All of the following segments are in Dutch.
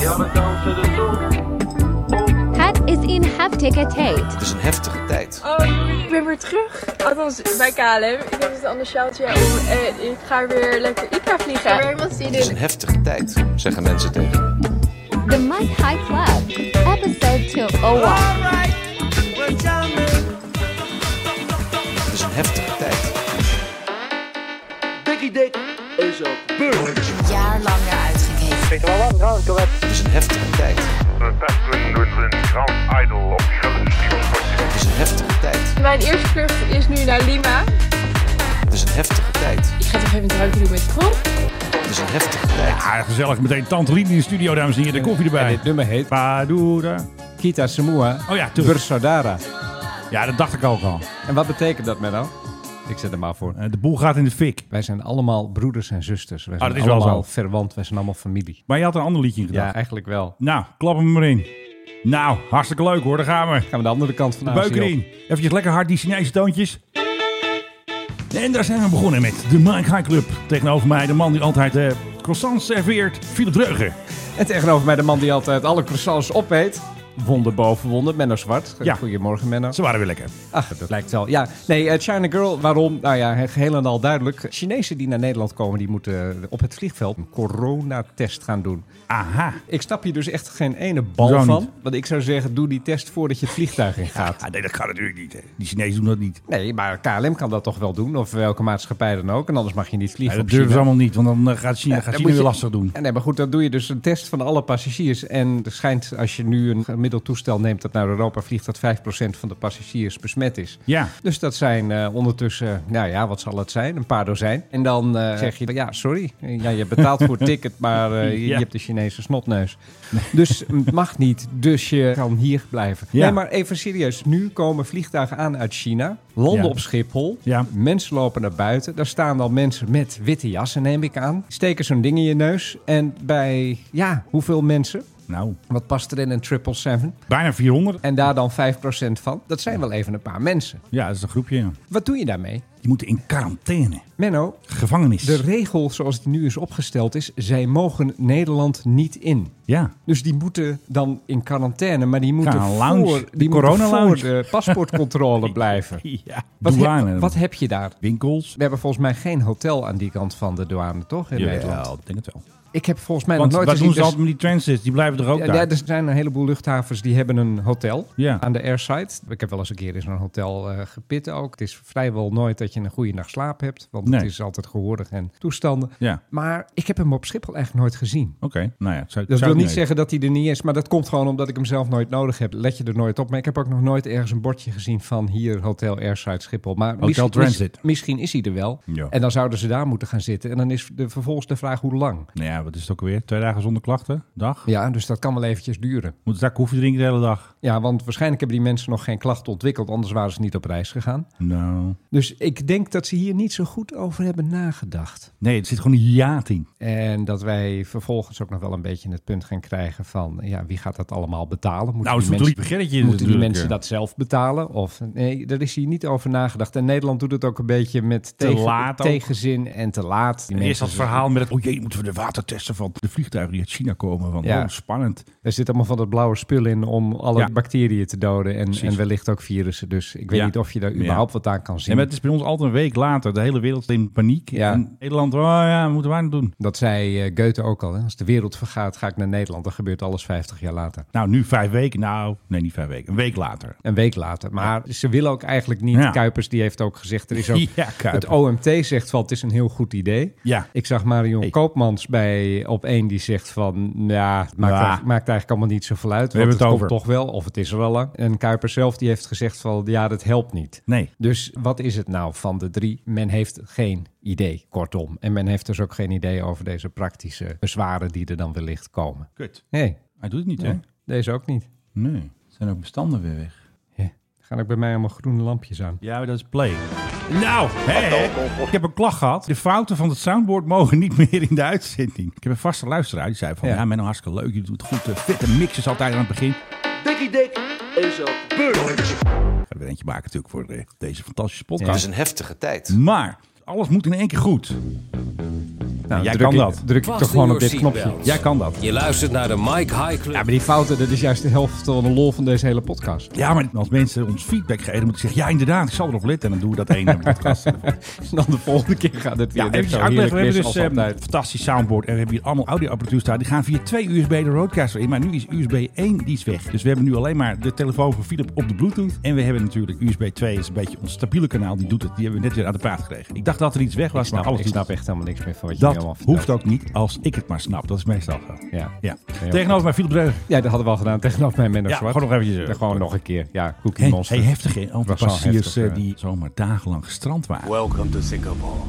Ja, we dansen de zon. Het is een heftige tijd. Het is een heftige tijd. Ik ben weer terug. Althans, bij KLM. Ik heb het anders sjaaltje om en ik ga weer lekker ICA vliegen. Weer iemand die Het is een heftige tijd, zeggen mensen tegen. me. The Mike High Club, episode Oh, 201. Het is een heftige tijd. Dikkie dik is op beurt. jaarlang naar uitgekeken. Het is een heftige tijd. Dat doen we een ground idol op die grote Het is een heftige tijd. Mijn eerste vlucht is nu naar Lima. Het is een heftige tijd. Ik ga het even een drankje doen met Tron. Het is een heftige tijd. Ja, Ah, gezellig. Meteen Tante Lien in de studio, dames en heren. De koffie En erbij. dit nummer heet Padura. Kita Semua Oh ja, tuurlijk. Bersadara. Ja, dat dacht ik ook al. En wat betekent dat, Menno? Ik zet hem maar voor. Eh, De boel gaat in de fik. Wij zijn allemaal broeders en zusters. Wij zijn dat is wel allemaal zo. verwant. Wij zijn allemaal familie. Maar je had een ander liedje in gedacht. Ja, eigenlijk wel. Nou, klap hem maar in. Nou, hartstikke leuk hoor. Daar gaan we. Gaan we de andere kant van de Beuk erin. Even lekker hard die Chinese toontjes. En daar zijn we begonnen met de Mike High Club. Tegenover mij de man die altijd eh croissants serveert, Philip Dreugen. En tegenover mij de man die altijd alle croissants opeet. Wonder boven wonder. Menno Zwart. Ja. Goedemorgen, Menno. Ze waren weer lekker. Ach, dat lijkt wel. Ja, nee, eh, China Girl, waarom? Nou ja, he- geheel en al duidelijk. Chinezen die naar Nederland komen, die moeten op het vliegveld een coronatest gaan doen. Aha. Ik snap hier dus echt geen ene bal Zo van. niet. Want ik zou zeggen, doe die test voordat je het vliegtuig in gaat. Ah, nee, dat gaat natuurlijk niet. Hè. Die Chinezen doen dat niet. Nee, maar KLM kan dat toch wel doen, of welke maatschappij dan ook. En anders mag je niet Nee, vliegen. dat op durven ze China. allemaal niet, want dan eh, gaat China, gaat dan China moet weer je- lastig doen. Nee, maar goed, dan doe je dus een test van alle passagiers. En er schijnt, als je nu een gemiddeld toestel neemt dat naar Europa vliegt, dat 5% van de passagiers besmet is. Ja. Dus dat zijn eh, ondertussen, nou ja, wat zal het zijn? Een paar dozijn. En dan eh, zeg je, ja, sorry, ja, je betaalt voor het ticket, maar eh, je, Ja. je hebt de Chinese snotneus. Dus het mag niet, dus je kan hier blijven. Ja. Nee, maar even serieus. Nu komen vliegtuigen aan uit China, landen Ja. op Schiphol. Ja. Mensen lopen naar buiten. Daar staan al mensen met witte jassen, neem ik aan. Steken zo'n ding in je neus. En bij, ja, hoeveel mensen? Nou, Wat past er in een 777? bijna 400. En daar dan 5% van. Dat zijn wel even een paar mensen. Ja, dat is een groepje. ja. Wat doe je daarmee? Die moeten in quarantaine. Menno, Gevangenis. de regel zoals die nu is opgesteld is, zij mogen Nederland niet in. Ja. Dus die moeten dan in quarantaine, maar die moeten Ja, een lounge. voor, Die die moeten voor coronalounge. de paspoortcontrole blijven. ja. Wat Douane. heb, wat heb je daar? Winkels. We hebben volgens mij geen hotel aan die kant van de douane, toch? In Nederland. ik denk het wel. Ik heb volgens mij Want nog nooit wat doen ze gezien- dus- altijd met die transits? Die blijven er ook ja, daar. ja, er zijn een heleboel luchthavens die hebben een hotel Ja. aan de airside. Ik heb wel eens een keer in zo'n hotel eh, gepit ook. Het is vrijwel nooit dat je een goede nacht slaap hebt, want Nee. het is altijd gehoorig en toestanden. Ja. Maar ik heb hem op Schiphol eigenlijk nooit gezien. Oké, nou ja. zou- zou Dat ik wil niet weten. zeggen dat hij er niet is, maar dat komt gewoon omdat ik hem zelf nooit nodig heb. Let je er nooit op. Maar ik heb ook nog nooit ergens een bordje gezien van hier Hotel Airside Schiphol. Maar Hotel misschien, Transit. mis- misschien is hij er wel. Ja. En dan zouden ze daar moeten gaan zitten. En dan is de, vervolgens de vraag hoe lang. Nou ja, wat is het ook alweer? Twee dagen zonder klachten? Dag? Ja, dus dat kan wel eventjes duren. Moeten ze daar koffie drinken de hele dag? Ja, want waarschijnlijk hebben die mensen nog geen klachten ontwikkeld, anders waren ze niet op reis gegaan. Nou. Dus ik denk dat ze hier niet zo goed over hebben nagedacht. Nee, er zit gewoon een jaat in. En dat wij vervolgens ook nog wel een beetje het punt gaan krijgen van, ja, wie gaat dat allemaal betalen? Moeten nou, die ze moeten mensen- liep Gerritje Moeten die natuurlijk, mensen eh, dat zelf betalen? Of, nee, daar is hier niet over nagedacht. En Nederland doet het ook een beetje met Te tegen- laat ook. tegenzin en te laat. Die Eerst mensen- dus- dat verhaal met het, oh jee, moeten we de watertesten van de vliegtuigen die uit China komen. Want Ja. oh, spannend. Er zit allemaal van dat blauwe spul in om alle Ja. bacteriën te doden. En, Precies. en wellicht ook virussen. Dus ik weet Ja. niet of je daar Ja. überhaupt wat aan kan zien. En het is bij ons altijd een week later. De hele wereld is in paniek. Ja. En Nederland, oh ja, wat moeten wij nou doen? Dat zei eh, Goethe ook al. Hè? Als de wereld vergaat, ga ik naar Nederland. Dan gebeurt alles 50 jaar later. Nou, nu vijf weken. Nou, nee, niet vijf weken. Een week later. Een week later. Maar ze willen ook eigenlijk niet. Ja. Kuipers die heeft ook gezegd. Er is ook, Ja, Kuiper. het OMT zegt van het is een heel goed idee. Ja. Ik zag Marion Hey. Koopmans bij op één die zegt van ja, het maakt, Ja. eigenlijk- maakt eigenlijk allemaal niet zoveel uit. We want hebben het komt over. toch wel, of het is er al lang. En Kuipers zelf die heeft gezegd van ja, dat helpt niet. Nee. Dus wat is het nou van de drie? Men heeft geen idee, kortom. En men heeft dus ook geen idee over deze praktische bezwaren die er dan wellicht komen. Kut. Nee, Hij doet het niet, hè? deze ook niet. Nee. Zijn ook bestanden weer weg. Ja. Gaan ook bij mij allemaal groene lampjes aan. Ja, maar dat is play. Nou, hè? ik heb een klacht gehad. De fouten van het soundboard mogen niet meer in de uitzending. Ik heb een vaste luisteraar die zei van... Ja, Ja. ja Menno, hartstikke leuk. Je doet het goed. eh, Fitte mixes altijd aan het begin. Ik Dikkie dik is op beurt. ga er weer eentje maken natuurlijk voor eh, deze fantastische Het podcast. is een heftige tijd. Maar alles moet in één keer goed. Nou, jij druk kan ik- dat. Druk ik toch gewoon op dit knopje. Jij kan dat. Je luistert naar de Mike High Club. Ja, maar die fouten, dat is juist de helft van de lol van deze hele podcast. Ja, maar als mensen ons feedback geven, dan moet ik zeggen, ja inderdaad, ik zal erop letten. En dan doen we dat ene podcast. En dan de volgende keer gaat het weer Ja, net even zo uitleggen. We hebben heerlijk dus mis als eh, een altijd. fantastisch soundboard. En we hebben hier allemaal audioapparatuur staan. Die gaan via twee USB de roadcaster in. Maar nu is USB 1 die is weg. Dus we hebben nu alleen maar de telefoon van Philip op de Bluetooth. En we hebben natuurlijk USB 2 is een beetje ons stabiele kanaal. Die doet het. Die hebben we net weer aan de praat gekregen. Ik dacht dat er iets weg was, Ik snap, maar alles ik doet snap echt helemaal niks meer van wat je nu allemaal Dat vertelt. hoeft ook niet als ik het maar snap. Dat is meestal zo. Ja. Ja. Heel Tegenover mij Philip Breuger. ja, dat hadden we al gedaan tegenover mijn Menno Ja, Zwart. gewoon nog eventjes, eh, Dan gewoon nog een keer. Ja, Cookie Hey, Monster. hey, heftig hè? Over Was wel passagiers heftig, eh, ja. die zomaar dagenlang gestrand waren.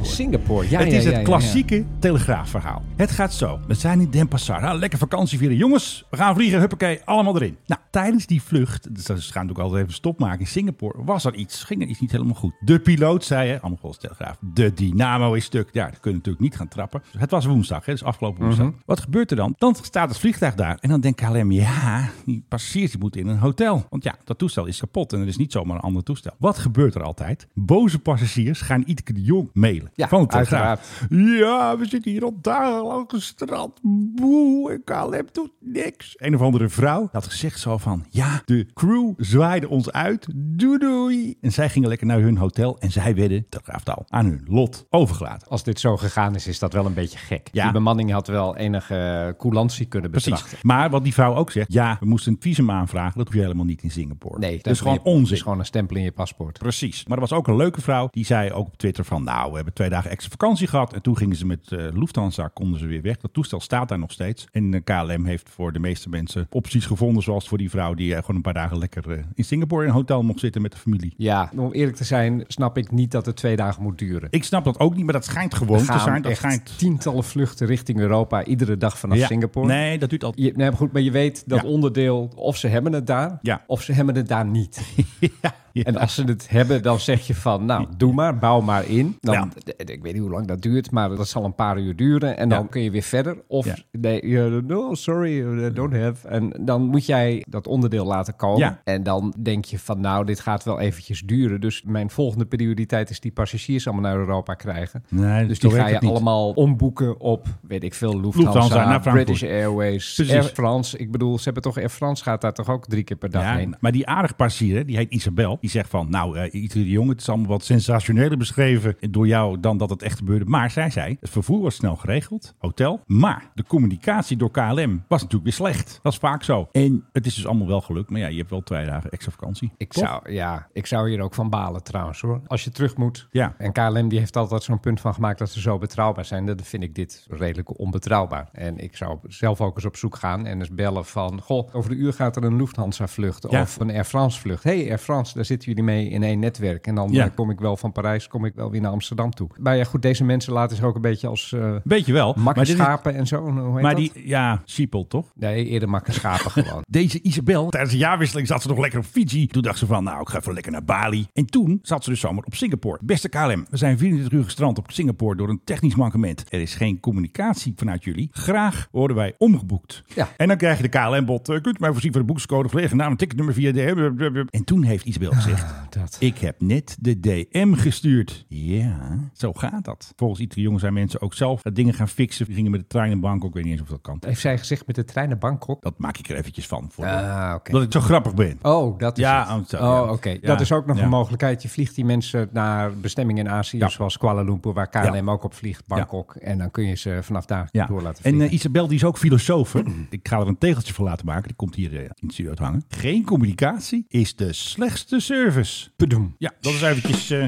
Singapore. Ja, het ja, is ja, het ja, klassieke telegraafverhaal. Het gaat zo. We zijn in Den Passar. Ah, lekker vakantie vieren. Jongens, we gaan vliegen. Huppakee, allemaal erin. Nou, tijdens die vlucht, dus ze gaan natuurlijk altijd even stop maken in Singapore, was er iets. Ging er iets niet helemaal goed. De piloot zei, hè, allemaal volgens de telegraaf, de dynamo is stuk. Ja, dat kunnen we natuurlijk niet gaan trappen. Het was woensdag, hè, dus afgelopen woensdag. Mhm. Wat gebeurt er dan? Dan staat het vliegtuig daar. En dan denkt KLM, ja, die passagiers die moeten in een hotel. Want ja, dat toestel is kapot en er is niet zomaar een ander toestel. Wat gebeurt er altijd? Boze passagiers gaan Ietke de Jong mailen. Ja, van de telegraaf. uiteraard. Ja, we zitten hier al dagenlang gestrand. Boe, en KLM doet niks. Een of andere vrouw had gezegd zo van... Ja, de crew zwaaide ons uit. Doei doei. En zij gingen lekker naar hun hotel. En zij werden, dat graaft al, aan hun lot overgelaten. Als dit zo gegaan is, is dat wel een beetje gek. Ja. Die bemanning had wel enige eh, coulantie kunnen Precies. betrachten. Maar wat die vrouw ook zegt... Ja, we moesten een visum aanvragen. Dat hoef je helemaal niet in Singapore. Nee, dat is gewoon je- onzin. Dat is Dus gewoon een stempel in je paspoort. Precies. Maar er was ook een leuke vrouw. Die zei ook op Twitter van... Nou, we hebben twee dagen extra vakantie gehad. En toen gingen ze met eh Lufthansa konden ze weer weg. Dat toestel staat daar nog steeds. En eh, KLM heeft voor de meeste mensen opties gevonden. Zoals voor die vrouw die eh, gewoon een paar dagen lekker eh, in Singapore in een hotel mocht zitten met de familie. Ja, om eerlijk te zijn, snap ik niet dat het twee dagen moet duren. Ik snap dat ook niet, maar dat schijnt gewoon Er te gaan zijn. Dat echt schijnt... tientallen vluchten richting Europa, iedere dag vanaf Ja. Singapore. Nee, dat duurt al... Je, nee, maar goed, maar je weet dat Ja. onderdeel, of ze hebben het daar, Ja. of ze hebben het daar niet. Ja, ja. En als ze het hebben, dan zeg je van, nou, doe maar, bouw maar in. Dan, Ja. d- d- Ik weet niet hoe lang dat duurt, maar dat zal een paar uur duren. En dan Ja. kun je weer verder. Of, Ja. nee, eh, no, sorry, I don't have. En dan moet jij dat onderdeel laten komen. Ja. En dan denk je van, nou, dit gaat wel eventjes duren. Dus mijn volgende prioriteit is die passagiers allemaal naar Europa krijgen. Nee, dus zo die werkt ga je het niet. allemaal omboeken op, weet ik veel, Lufthansa, Lufthansa naar Frankfurt. British Airways, Precies. Air France. Ik bedoel, ze hebben toch, Air France gaat daar toch ook drie keer per dag Ja, heen. maar die aardige passagier, hè, die heet Isabel, die zegt van... nou, eh iedere jongen, het is allemaal wat sensationeler beschreven door jou... dan dat het echt gebeurde. Maar zij zei, het vervoer was snel geregeld, hotel... maar de communicatie door KLM was natuurlijk weer slecht. Dat is vaak zo. En het is dus allemaal wel gelukt. Maar ja, je hebt wel twee dagen extra vakantie. Ik Toch? zou, ja, ik zou hier ook van balen trouwens hoor. Als je terug moet. Ja. En KLM die heeft altijd zo'n punt van gemaakt dat ze zo betrouwbaar zijn. Dan vind ik dit redelijk onbetrouwbaar. En ik zou zelf ook eens op zoek gaan en eens bellen van... Goh, over de uur gaat er een Lufthansa vlucht Ja. of een Air France vlucht. hey, Air France, daar zitten jullie mee in één netwerk. En dan Ja. eh, kom ik wel van Parijs, kom ik wel weer naar Amsterdam toe. Maar ja goed, deze mensen laten zich ook een beetje als eh Weet je wel. maar dit is- makkerschapen en zo. Hoe heet maar dat? die, ja, Siepel toch? Nee, eerder makkerschapen gewoon. Deze Isabel, tijdens de jaarwisseling zat ze nog lekker op Fiji. Toen dacht ze van, nou, ik ga even lekker naar Bali. En toen zat ze dus zomaar op Singapore. Beste KLM, we zijn 24 uur gestrand op Singapore door een technisch mankement. Er is geen communicatie vanuit jullie. Graag worden wij omgeboekt. Ja. En dan krijg je de KLM-bot. eh, kunt u mij voorzien van de Nou, boekscode, volledige naam, ticketnummer via de... eh, En toen heeft Isabel gezegd, dat. ik heb net de DM gestuurd. Ja, zo gaat dat. Volgens iedere jongen zijn mensen ook zelf eh, dingen gaan fixen. Die gingen met de trein in Bangkok, ik weet niet eens of dat kan. Heeft zij gezegd met de trein naar Bangkok? Dat maak ik er eventjes van. Voor Ah, oké. dat ik zo grappig ben. Oh, dat is Ja, het. oh, zo, oh, ja. oké. Ja, Dat is ook nog ja. een mogelijkheid. Je vliegt die mensen naar bestemmingen in Azië, Ja. zoals Kuala Lumpur, waar KLM ook op vliegt, Bangkok. En dan kun je ze vanaf daar Ja. door laten En vliegen. eh, Isabel die is ook filosoof. hè? Ik ga er een tegeltje voor laten maken. Die komt hier eh, in het studio te hangen. Geen communicatie is de slechtste service. Pedoem. Ja, dat is eventjes... eh,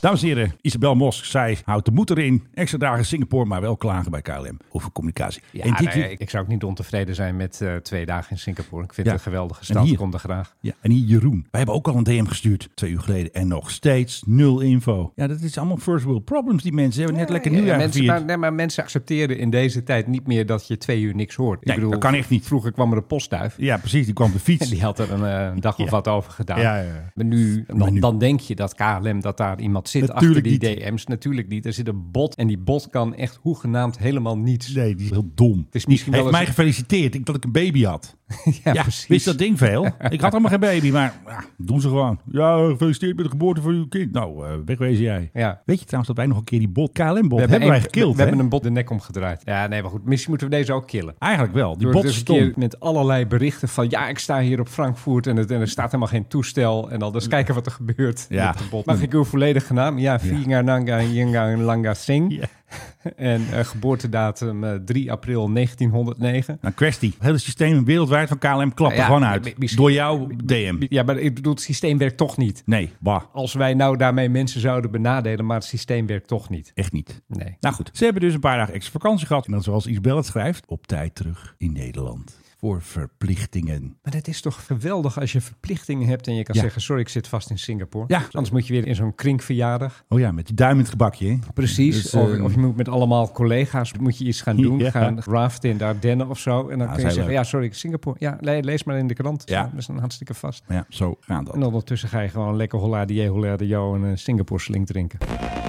Dames en heren, Isabel Mosk, zij houdt de moed erin. Extra dagen Singapore, maar wel klagen bij KLM over communicatie. Ja, en, dit nou ja, weer- ik, ik zou ook niet ontevreden zijn met eh, twee dagen in Singapore. Ik vind Ja. het een geweldige En stad. hier? Ik kom er graag. ja, en hier Jeroen. Wij hebben ook al een DM gestuurd, twee uur geleden. En nog steeds nul info. Ja, dat is allemaal first world problems die mensen hebben. Net lekker Ja, nieuwjaar mensen, gevierd. maar, nee, maar mensen accepteren in deze tijd niet meer dat je twee uur niks hoort. Nee, dat kan echt niet. Vroeger kwam er een postduif. Ja, precies. Die kwam op de En fiets. die had er een eh, dag of Ja. wat over gedaan. Ja, ja, ja. Maar nu, dan, nu. dan denk je dat KLM, dat daar iemand zit Natuurlijk achter die niet. DM's? Natuurlijk niet. Er zit een bot en die bot kan echt hoegenaamd helemaal niets. Nee, die is heel dom. Het is misschien Hij wel heeft mij eens- gefeliciteerd ik, dat ik een baby had. Ja, Ja, precies. wist dat ding veel? Ik had helemaal geen baby, maar ja, doen ze gewoon. Ja, gefeliciteerd met de geboorte van uw kind. Nou, eh, wegwezen jij. Ja. Weet je trouwens dat wij nog een keer die bot, KLM-bot, hebben, één- wij gekild, we, we hè? hebben een bot de nek omgedraaid. Ja, nee, maar goed. Misschien moeten we deze ook killen. Eigenlijk wel. Die Door bot dus een stond. keer met allerlei berichten van... ja, ik sta hier op Frankfurt en, het, en er staat helemaal geen toestel. En al dus kijken wat er gebeurt Ja. met de bot. Mag ik uw volledige naam? Ja, Vingananga Yengang Langa Singh. Ja. En eh, geboortedatum eh, 3 april 1909. Dan Nou, kwestie. Het hele systeem wereldwijd van KLM klapt Ja, er gewoon ja, uit. mi- misschien- Door jouw DM. Ja, maar ik bedoel, het systeem werkt toch niet. Nee, bah, Als wij nou daarmee mensen zouden benadelen, maar het systeem werkt toch niet. echt niet. Nee. Nou goed, ze hebben dus een paar dagen extra vakantie gehad. En dan zoals Isabel het schrijft, op tijd terug in Nederland. Voor verplichtingen. Maar het is toch geweldig als je verplichtingen hebt en je kan Ja. zeggen, sorry, ik zit vast in Singapore. Ja. Anders moet je weer in zo'n kringverjaardag. Oh ja, met die duim in het gebakje, hè? Precies. Dus, eh, of, of je moet met allemaal collega's moet je iets gaan doen. Ja. Gaan raften in de Ardennen of zo. En dan Ja, kun is je heel zeggen, leuk. ja, sorry, Singapore. Ja, le- lees maar in de krant. Ja. Ja. Dat is dan hartstikke vast. Maar ja, zo gaan dat. En ondertussen ga je gewoon lekker holladier, holladier en een Singapore sling drinken.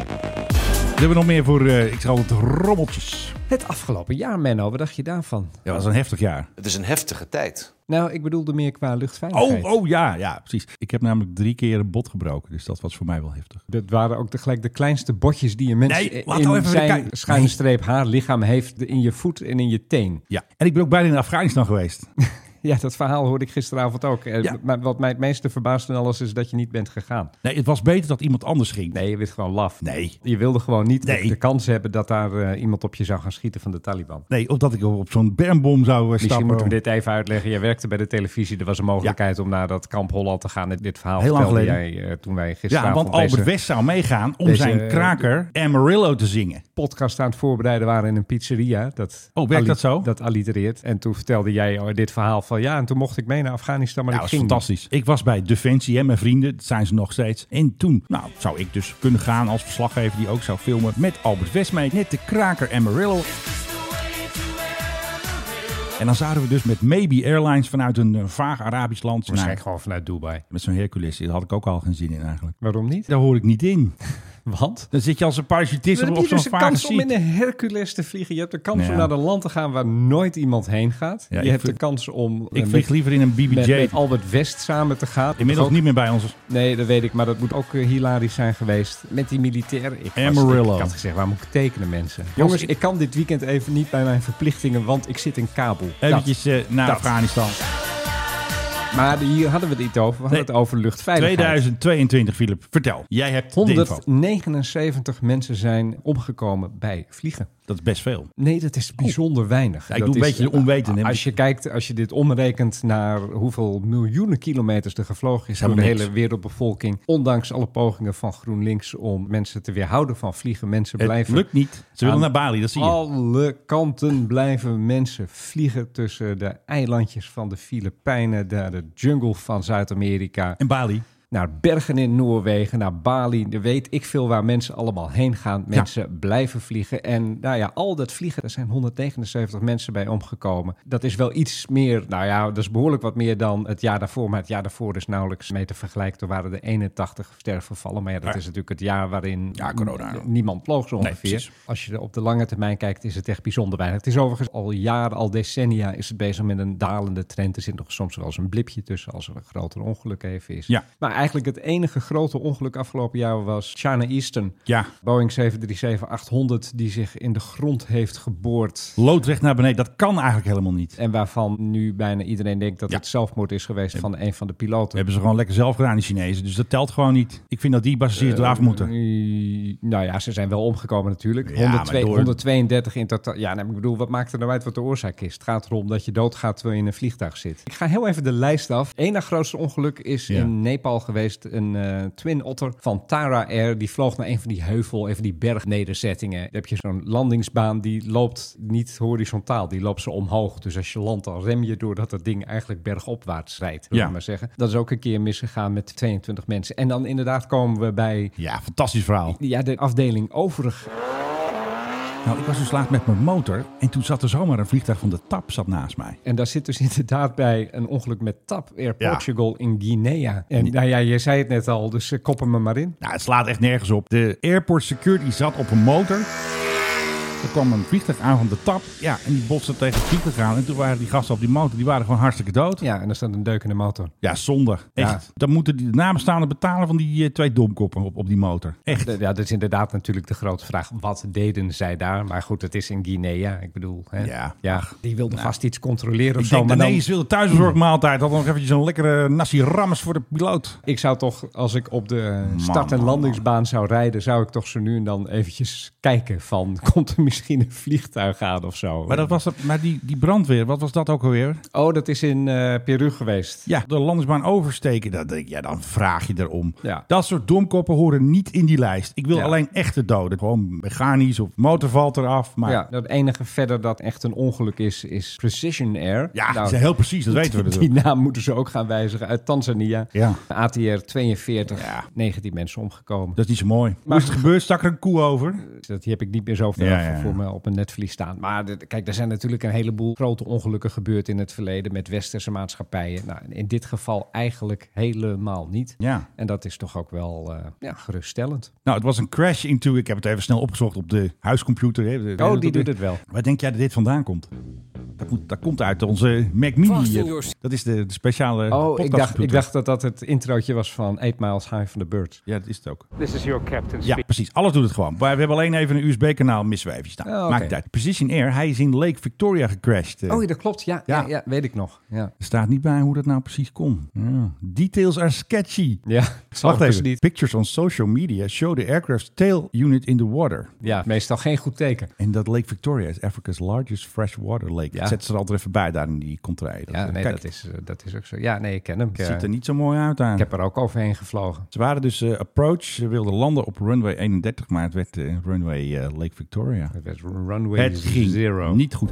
We hebben nog meer voor, eh, ik zeg altijd, rommeltjes. Het afgelopen jaar, Menno, wat dacht je daarvan? Ja, dat was een heftig jaar. Het is een heftige tijd. Nou, ik bedoelde meer qua luchtveiligheid. Oh, oh ja, ja, precies. Ik heb namelijk drie keer een bot gebroken, dus dat was voor mij wel heftig. Dat waren ook tegelijk de kleinste botjes die een mens Nee, laat in nou even zijn kijken. schuine streep haar lichaam heeft in je voet en in je teen. Ja, en ik ben ook bijna in Afghanistan geweest. Ja, dat verhaal hoorde ik gisteravond ook. Eh, Ja. Maar wat mij het meeste verbaast in alles is dat je niet bent gegaan. Nee, het was beter dat iemand anders ging. Nee, je werd gewoon laf. Nee. Je wilde gewoon niet de- Nee. de, kans hebben dat daar eh, iemand op je zou gaan schieten van de Taliban. Nee, of dat ik op zo'n bermbom zou eh, Misschien stappen. moeten we dit even uitleggen. Jij werkte bij de televisie. Er was een mogelijkheid om naar dat kamp Holland te gaan. Dit verhaal Heel lang vertelde geleden. jij eh, toen wij gisteravond Ja, want deze Albert West zou meegaan om deze- zijn kraker Amarillo te zingen. podcast aan het voorbereiden waren in een pizzeria. Dat Oh, werkt dat zo? Dat allitereert. En toen vertelde jij oh, dit verhaal van ja, en toen mocht ik mee naar Afghanistan, maar Nou, ik dat is ging niet. fantastisch. Ik was bij Defensie en mijn vrienden, dat zijn ze nog steeds. En toen, nou, zou ik dus kunnen gaan als verslaggever die ook zou filmen met Albert West mee. Net de kraker Amarillo. En dan zouden we dus met Maybe Airlines vanuit een eh, vaag Arabisch land... Waarschijnlijk Nou, gewoon vanuit Dubai. met zo'n Hercules, daar had ik ook al geen zin in eigenlijk. Waarom niet? Daar hoor ik niet in. Want? Dan zit je als een parachutist Dan op, heb je zo'n dus de vage kans om in seat. een Hercules te vliegen. Je hebt de kans Ja. om naar een land te gaan waar nooit iemand heen gaat. Ja, ik je hebt vlieg- de kans om eh, Ik vlieg liever in een met, BBJ. met Albert West samen te gaan. Inmiddels Ook- niet meer bij ons. Nee, dat weet ik, maar dat moet ook eh, hilarisch zijn geweest. Met die militairen. Ik, was- Amarillo. ik had gezegd, waar moet ik tekenen, mensen? Jongens, ik kan dit weekend even niet bij mijn verplichtingen, want ik zit in Kabul. Eventjes eh, naar Dat. Afghanistan. Dat. Maar hier hadden we het niet over. We hadden Nee. het over luchtveiligheid. 2022, Philip. Vertel. Jij hebt de info. 179 mensen zijn omgekomen bij vliegen. Dat is best veel. Nee, dat is bijzonder weinig. Oh. Ja, ik dat doe een is- eh, beetje de onwetende. Als je kijkt, als je dit omrekent naar hoeveel miljoenen kilometers er gevlogen is door de helemaal niks. hele wereldbevolking. Ondanks alle pogingen van GroenLinks om mensen te weerhouden van vliegen. Mensen Het blijven lukt niet. Oh. Ze willen aan naar Bali, dat zie je. Alle kanten blijven mensen vliegen tussen de eilandjes van de Filipijnen, naar de jungle van Zuid-Amerika, En Bali. naar bergen in Noorwegen, naar Bali. Er weet ik veel waar mensen allemaal heen gaan. Mensen blijven vliegen. En nou ja, al dat vliegen, daar zijn 179 mensen bij omgekomen. Dat is wel iets meer, nou ja, dat is behoorlijk wat meer dan het jaar daarvoor. Maar het jaar daarvoor is nauwelijks mee te vergelijken. Toen waren er 81 sterfgevallen. Maar ja, dat Ja. is natuurlijk het jaar waarin Ja, corona. niemand vloog zo Nee, ongeveer. precies. Als je er op de lange termijn kijkt, is het echt bijzonder weinig. Het is overigens al jaren, al decennia is het bezig met een dalende trend. Er zit nog soms wel eens een blipje tussen als er een groter ongeluk even is. Ja. Maar eigenlijk het enige grote ongeluk afgelopen jaar was China Eastern. Ja. Boeing 737-800 die zich in de grond heeft geboord. Loodrecht naar beneden. Dat kan eigenlijk helemaal niet. En waarvan nu bijna iedereen denkt dat Ja. het zelfmoord is geweest van een van de We piloten. hebben ze gewoon lekker zelf gedaan, die Chinezen. Dus dat telt gewoon niet. Ik vind dat die passagiers eraf moeten. Eh, Nou ja, ze zijn wel omgekomen natuurlijk. Ja, 102 maar door- 132 in totaal. Ja, nee, maar ik bedoel, wat maakt er nou uit wat de oorzaak is? Het gaat erom dat je doodgaat terwijl je in een vliegtuig zit. Ik ga heel even de lijst af. Eén na grootste ongeluk is Ja. in Nepal geweest. Een eh, Twin Otter van Tara Air. Die vloog naar een van die heuvel, een van die bergnederzettingen. Dan heb je zo'n landingsbaan, die loopt niet horizontaal. Die loopt zo omhoog. Dus als je landt, dan rem je doordat dat ding eigenlijk bergopwaarts rijdt. wil Ja. ik maar zeggen. Dat is ook een keer misgegaan met 22 mensen. En dan inderdaad komen we bij Ja, fantastisch verhaal. ja, de afdeling overig. Nou, ik was dus laat met mijn motor en toen zat er zomaar een vliegtuig van de TAP zat naast mij. En daar zit dus inderdaad bij een ongeluk met TAP Air Ja. Portugal in Guinea. En nou ja, je zei het net al, dus eh, koppen me maar in. Nou, het slaat echt nergens op. De airport security zat op een motor. Er kwam een vliegtuig aan van de TAP. Ja, en die botste tegen het vliegtuig aan. En toen waren die gasten op die motor, die waren gewoon hartstikke dood. Ja, en er staat een deuk in de motor. Ja, zonde. Echt. Ja. Dan moeten die de nabestaanden betalen van die eh, twee domkoppen op, op die motor. Echt. Ja, dat is inderdaad natuurlijk de grote vraag. Wat deden zij daar? Maar goed, het is in Guinea. Ik bedoel, hè? Ja. die wilden vast iets controleren of Ik zo. denk, maar dan- nee, ze wilde thuisbezorgd maaltijd. Had nog eventjes een lekkere nasi rammes voor de piloot. Ik zou toch, als ik op de eh, start- en man, landingsbaan zou rijden, zou ik toch zo nu en dan eventjes kijken van, komt er misschien een vliegtuig aan of zo? Maar, dat was het, maar die, die brandweer, wat was dat ook alweer? Oh, dat is in eh, Peru geweest. Ja, de landingsbaan oversteken. Dan denk ik, ja, dan vraag je erom. Ja. Dat soort domkoppen horen niet in die lijst. Ik wil Ja. alleen echte doden. Gewoon mechanisch of motor valt eraf. Maar Ja, ja, dat enige verder dat echt een ongeluk is, is Precision Air. die Nou, zijn heel precies, dat weten we die natuurlijk. naam moeten ze ook gaan wijzigen uit Tanzania. Ja. ATR 42, Ja. 19 mensen omgekomen. Dat is niet zo mooi. Maar is het gebeurd? Stak er een koe over? Dat die heb ik niet meer zo ver Ja, af ja, ja. voor me op een netvlies staan. Maar dit- kijk, er zijn natuurlijk een heleboel grote ongelukken gebeurd in het verleden met westerse maatschappijen. Nou, in dit geval eigenlijk helemaal niet. Ja. En dat is toch ook wel eh, ja, geruststellend. Nou, het was een crash into... Ik heb het even snel opgezocht op de huiscomputer. Hè, de- de- Oh, de- die doet het wel. Waar denk jij dat dit vandaan komt? Dat, moet, dat komt uit onze Mac Mini. Vast in hier. your s- Dat is de, de speciale Oh, ik dacht, ik podcastcomputer. dacht dat dat het introotje was van Eight Miles High van de Bird. Ja, dat is het ook. This is your captain Ja, precies. Alles doet het gewoon. Maar we hebben alleen even een USB-kanaal missen we even staan. Oh, oké. Maakt niet uit. Precision Air, hij is in Lake Victoria gecrashed. eh. Oh, dat klopt. Ja, ja. Ja. ja, weet ik nog. Ja, Er staat niet bij hoe dat nou precies kon. Ja. Details are sketchy. ja Wacht dus even. Pictures on social media show the aircraft's tail unit in the water. Ja, meestal geen goed teken. En dat Lake Victoria is Africa's largest freshwater lake. Ja. Dat zetten ze er altijd even bij daar in die contraille. Ja, nee, kijk, dat is, eh, dat is ook zo. Ja, nee, ik ken hem. Ik, het eh, ziet er niet zo mooi uit aan. ik heb er ook overheen gevlogen. Ze waren dus eh, approach. Ze wilden landen op runway 31, maar het werd eh, runway eh, Lake Victoria. Het werd runway Het ging zero. niet goed.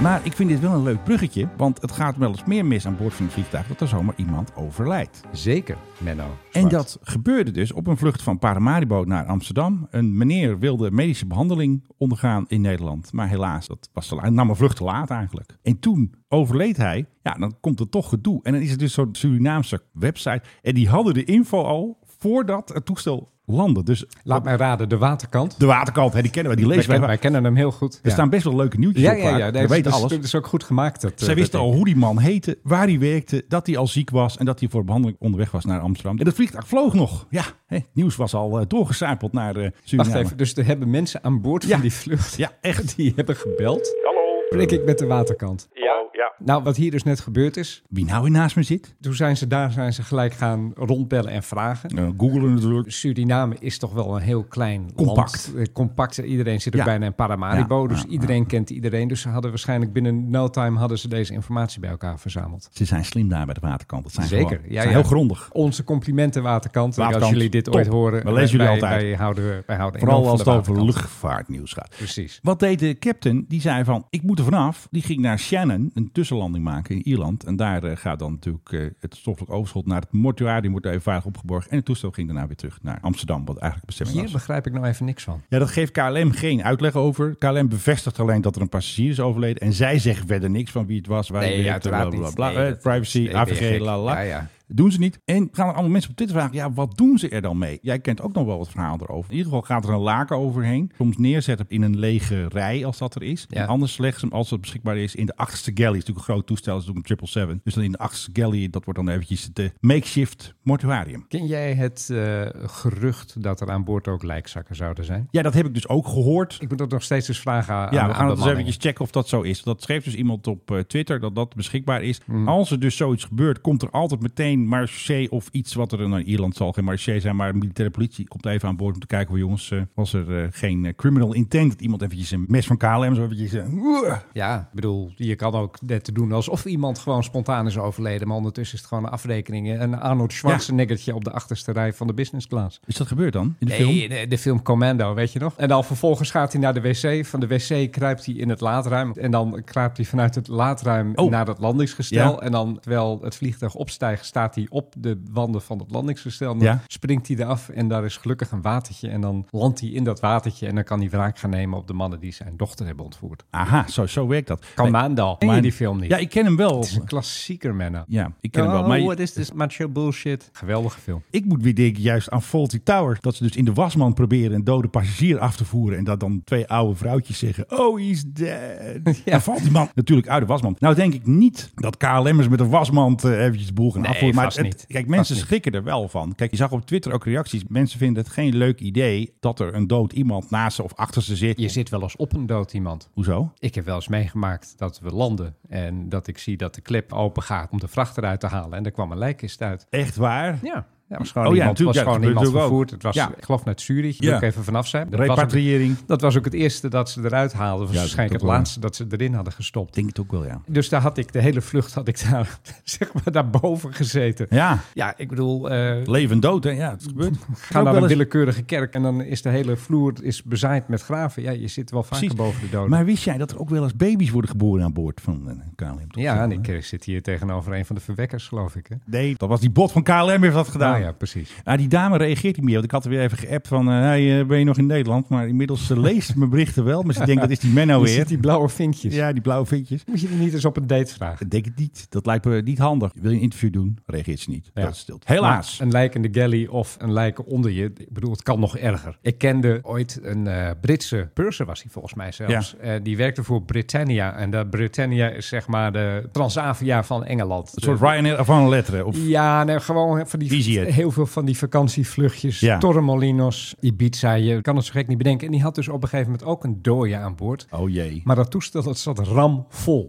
Maar ik vind dit wel een leuk bruggetje, want het gaat wel eens meer mis aan boord van het vliegtuig dat er zomaar iemand overlijdt. Zeker, Menno. En Zwart. dat gebeurde dus op een vlucht van Paramaribo naar Amsterdam. Een meneer wilde medische behandeling ondergaan in Nederland. Maar helaas, dat was te laat. Hij nam een vlucht te laat eigenlijk. En toen overleed hij. Ja, dan komt er toch gedoe. En dan is het dus zo'n Surinaamse website. En die hadden de info al voordat het toestel landde. Dus Laat mij raden, de waterkant. de waterkant, hè, die kennen we, die Wij, lezen ken- we. wij kennen hem heel goed. Er staan best wel leuke nieuwtjes ja, op. ja, vaak. ja. We Nee, het weten is- het is- alles. Het is ook goed gemaakt. Dat, Zij wisten al hoe die man heette, waar hij werkte, dat hij al ziek was en dat hij voor behandeling onderweg was naar Amsterdam. En dat vliegtuig vloog nog. Ja, hè, nieuws was al eh, doorgecijpeld naar eh Suriname. Wacht even, dus er hebben mensen aan boord Ja. van die vlucht... Ja, echt. Die hebben gebeld. Hallo. Prik ik met de waterkant. Ja. ja. Nou, wat hier dus net gebeurd is... Wie nou weer naast me zit? Toen zijn ze daar zijn ze gelijk gaan rondbellen en vragen. Eh, Googelen natuurlijk. Suriname is toch wel een heel klein Compact. land. Eh, Compact. Iedereen zit ook Ja. bijna in Paramaribo. Ja, dus ja, iedereen kent iedereen. Dus ze hadden waarschijnlijk binnen no time hadden ze deze informatie bij elkaar verzameld. Ze zijn slim daar bij de waterkant. Dat zijn Zeker. Gewoon, Ja, ze zijn ja. heel grondig. Onze complimenten Waterkant. En Waterkant, als jullie dit top. ooit horen, We lezen jullie wij, altijd. Wij houden, wij houden Vooral enorm als het van de over Waterkant. luchtvaartnieuws gaat. Precies. Wat deed de captain? Die zei van, ik moet er vanaf. Die ging naar Shannon, een tussenlanding maken in Ierland. En daar eh, gaat dan natuurlijk eh, het stoffelijk overschot naar het mortuarium. Wordt daar even veilig opgeborgen. En het toestel ging daarna weer terug naar Amsterdam, wat eigenlijk de bestemming Hier was. begrijp ik nou even niks van. Ja, dat geeft KLM geen uitleg over. KLM bevestigt alleen dat er een passagier is overleden. En zij zeggen verder niks van wie het was, waar hij werkte, bla, bla, bla, Nee, eh, dat- privacy, nee, ben je AVG, gek. la la. Ja, ja. Doen ze niet. En gaan er allemaal mensen op Twitter vragen, ja, wat doen ze er dan mee? Jij kent ook nog wel wat verhaal erover. In ieder geval gaat er een laken overheen. Soms neerzetten in een lege rij, als dat er is. Ja. En anders leggen ze hem, als het beschikbaar is, in de achterste galley. Het is natuurlijk een groot toestel, dat is natuurlijk een 777. Dus dan in de achterste galley, dat wordt dan eventjes de makeshift mortuarium. Ken jij het eh, gerucht dat er aan boord ook lijkzakken zouden zijn? Ja, dat heb ik dus ook gehoord. Ik moet dat nog steeds eens vragen aan Ja, we aan gaan het eens bemanningen. eventjes checken of dat zo is. Dat schreef dus iemand op eh, Twitter dat dat beschikbaar is. Hmm. Als er dus zoiets gebeurt, komt er altijd meteen marché of iets wat er in Ierland zal geen marché zijn, maar militaire politie komt even aan boord om te kijken hoe jongens eh, was er eh, geen eh, criminal intent dat iemand eventjes een mes van KLM zo eventjes eh, "Uah." Ja, ik bedoel, je kan ook net doen alsof iemand gewoon spontaan is overleden. Maar ondertussen is het gewoon een afrekening. eh, Een Arnold Schwarzeneggertje op de achterste rij van de business class. is dat gebeurd dan in de film? Nee, de, de film Commando, weet je nog? En dan vervolgens gaat hij naar de wc. Van de wc kruipt hij in het laadruim. En dan kruipt hij vanuit het laadruim Oh. naar het landingsgestel. Ja. En dan, terwijl het vliegtuig opstijgt, staat staat hij op de wanden van het landingsgestel. Dan Ja. springt hij eraf en daar is gelukkig een watertje. En dan landt hij in dat watertje en dan kan hij wraak gaan nemen op de mannen die zijn dochter hebben ontvoerd. Aha, zo, zo werkt dat. Kan Nee, Maandal. Ken je maar- die film niet? Ja, ik ken hem wel. Het is een klassieker, Menno. Ja, ik ken hem wel. Oh, Maar what is this macho bullshit? Geweldige film. ik moet weer denken juist aan Faulty Tower. Dat ze dus in de wasman proberen een dode passagier af te voeren. En dat dan twee oude vrouwtjes zeggen, oh, he's dead. Ja. Dan valt die man natuurlijk uit de wasmand. Nou denk ik niet dat KLM'ers met een wasmand eh, eventjes de boel gaan Nee, afvoeren. Maar vast het- niet. Kijk, mensen Vast niet. schrikken er wel van. Kijk, je zag op Twitter ook reacties. Mensen vinden het geen leuk idee dat er een dood iemand naast ze of achter ze zit. Je zit wel eens op een dood iemand. Hoezo? Ik heb wel eens meegemaakt dat we landen en dat ik zie dat de klep open gaat om de vracht eruit te halen. En er kwam een lijkkist uit. Echt waar? Ja, ja het was gewoon Oh ja, iemand, natuurlijk, was ja, dat gewoon gebeurt iemand natuurlijk ook. vervoerd. Het was, Ja. ik geloof, naar Zurich. Ja. Moet ik even vanaf zijn. Dat was, ook, Repatriëring. dat was ook het eerste dat ze eruit haalden. Dat was Ja, dat doet waarschijnlijk het wel. laatste dat ze erin hadden gestopt. denk het ook wel, ja. Dus daar had ik de hele vlucht had ik daar, zeg maar, daarboven gezeten. Ja, Ja, ik bedoel, eh, leven dood, hè? Ja, het gebeurt. Ga Ook naar wel een eens- willekeurige kerk en dan is de hele vloer is bezaaid met graven. Ja, je zit wel vaker Precies. boven de doden. Maar wist jij dat er ook wel eens baby's worden geboren aan boord van eh, KLM? toch? ja, en ik eh, zit hier tegenover een van de verwekkers, geloof ik. Hè? Nee, dat was die bot van KLM heeft dat gedaan. Nou ja. ja, precies. die dame reageert niet meer. Want ik had er weer even geappt van, eh, hey, eh, ben je nog in Nederland? Maar inmiddels eh, leest ze mijn berichten wel. Maar ze denkt, dat is die Menno Je ziet Nou weer. die blauwe vinkjes. Ja, die blauwe vinkjes. Moet je die niet eens op een date vragen? Ik denk het niet. Dat lijkt me niet handig. Wil je een interview doen? Reageert ze niet. Ja. Dat is stilte. Helaas. Maar Een lijk in de galley of een lijk onder je. Ik bedoel, het kan nog erger. Ik kende ooit een eh, Britse purser, was hij volgens mij zelfs. Eh, die werkte voor Britannia. En dat Britannia is zeg maar de Transavia van Engeland. Een De- soort Ryanair van letteren. Of, Ja, nee, gewoon van die, Easyjet. heel veel van die vakantievluchtjes. Ja. Torremolinos, Ibiza, je kan het zo gek niet bedenken. En die had dus op een gegeven moment ook een dooie aan boord. oh jee. Maar dat toestel dat zat ramvol.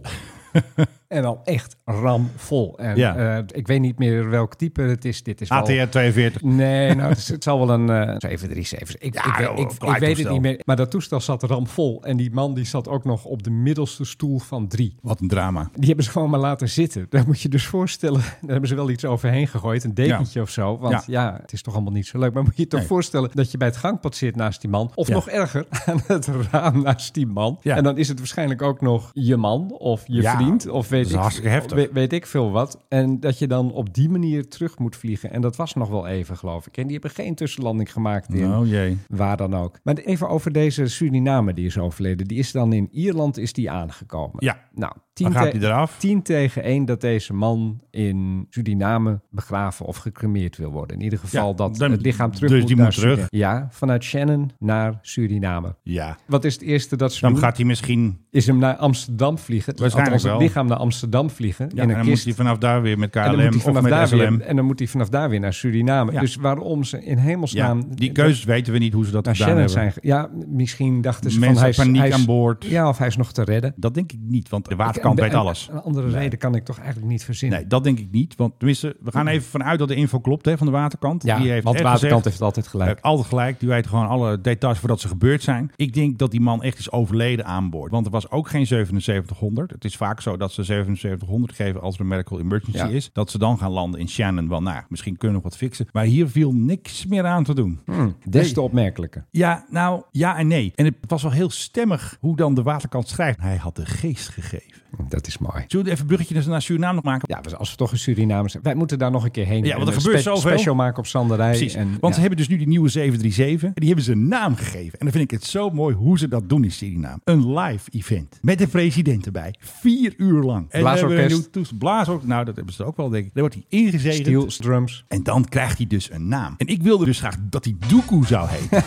en dan echt ramvol. En Ja. eh, ik weet niet meer welk type het is. Dit is wel- ATR 42. Nee, nou, het, is- het zal wel een eh 737. Ik, ik, joh, weet- ik, ik, klein weet het toestel. niet meer. Maar dat toestel zat ramvol. En die man die zat ook nog op de middelste stoel van drie. Wat een drama. Die hebben ze gewoon maar laten zitten. Daar moet je dus voorstellen. Daar hebben ze wel iets overheen gegooid. Een dekentje of zo. Want ja. het is toch allemaal niet zo leuk. Maar moet je je toch Nee. voorstellen dat je bij het gangpad zit naast die man. Of Ja. nog erger, aan het raam naast die man. Ja. En dan is het waarschijnlijk ook nog je man of je Ja, vriend. Of weet is ik, hartstikke heftig. Weet, weet ik veel wat. En dat je dan op die manier terug moet vliegen. En dat was nog wel even, geloof ik. En die hebben geen tussenlanding gemaakt in Oh jee. Waar dan ook. Maar even over deze Suriname die is overleden. Die is dan in Ierland is die aangekomen. Ja. Nou, 10, Dan gaat te- hij eraf. 10 tegen 1 dat deze man in Suriname begraven of gecremeerd wil worden. In ieder geval Ja, dat dan- het lichaam terug dus moet die naar moet terug. Suriname. Ja, vanuit Shannon naar Suriname. Ja. Wat is het eerste dat ze Dan doen? gaat hij misschien... Is hem naar Amsterdam vliegen. Waarschijnlijk Althans, het wel. lichaam naar Amsterdam vliegen Ja, in en een dan moet kist. hij vanaf daar weer met en, dan moet KLM hij of vanaf met daar SLM. weer, en dan moet hij vanaf daar weer naar Suriname. Ja. Dus waarom ze in hemelsnaam... Ja, die keuzes weten we niet hoe ze dat naar gedaan Shannon hebben. zijn... ge- Ja, misschien dachten ze Mensen van... Hij is, paniek hij is- aan boord. Ja, of hij is nog te redden. Dat denk ik niet, want de Een- waterkant weet een- alles. Een andere reden kan ik toch eigenlijk niet verzinnen. Nee, dat denk ik niet. Want tenminste, we gaan even vanuit dat de info klopt hè, van de waterkant. Ja, die heeft want echt Waterkant gezegd, heeft altijd hij gelijk. heeft altijd gelijk. Die weet gewoon alle details voordat ze gebeurd zijn. Ik denk dat die man echt is overleden aan boord. Want er was ook geen 7700. Het is vaak zo dat ze 7700 geven als er een medical emergency Ja. is. Dat ze dan gaan landen in Shannon. Wel, nou, misschien kunnen we nog wat fixen. Maar hier viel niks meer aan te doen. Des te opmerkelijker. Ja, nou, ja en nee. En het was wel heel stemmig hoe dan de waterkant schrijft. Hij had de geest gegeven. Dat is mooi. Zullen we even een bruggetje naar- naar Suriname nog maken? Ja, als we toch in Suriname zijn. Wij moeten daar nog een keer Ja, heen. want er En een gebeurt zoveel. special maken op Sanderij. Precies. En, Want ze ja. hebben dus nu die nieuwe 737. En die hebben ze een naam gegeven. En dan vind ik het zo mooi hoe ze dat doen in Suriname. Een live event. Met de president erbij. Vier uur lang. En Blaasorkest. hebben we een nieuw toest- blaasorkest. Nou, dat hebben ze ook wel, denk ik. Daar wordt hij ingezegend. Steel drums. En dan krijgt hij dus een naam. En ik wilde dus graag dat hij Doekoe zou heten.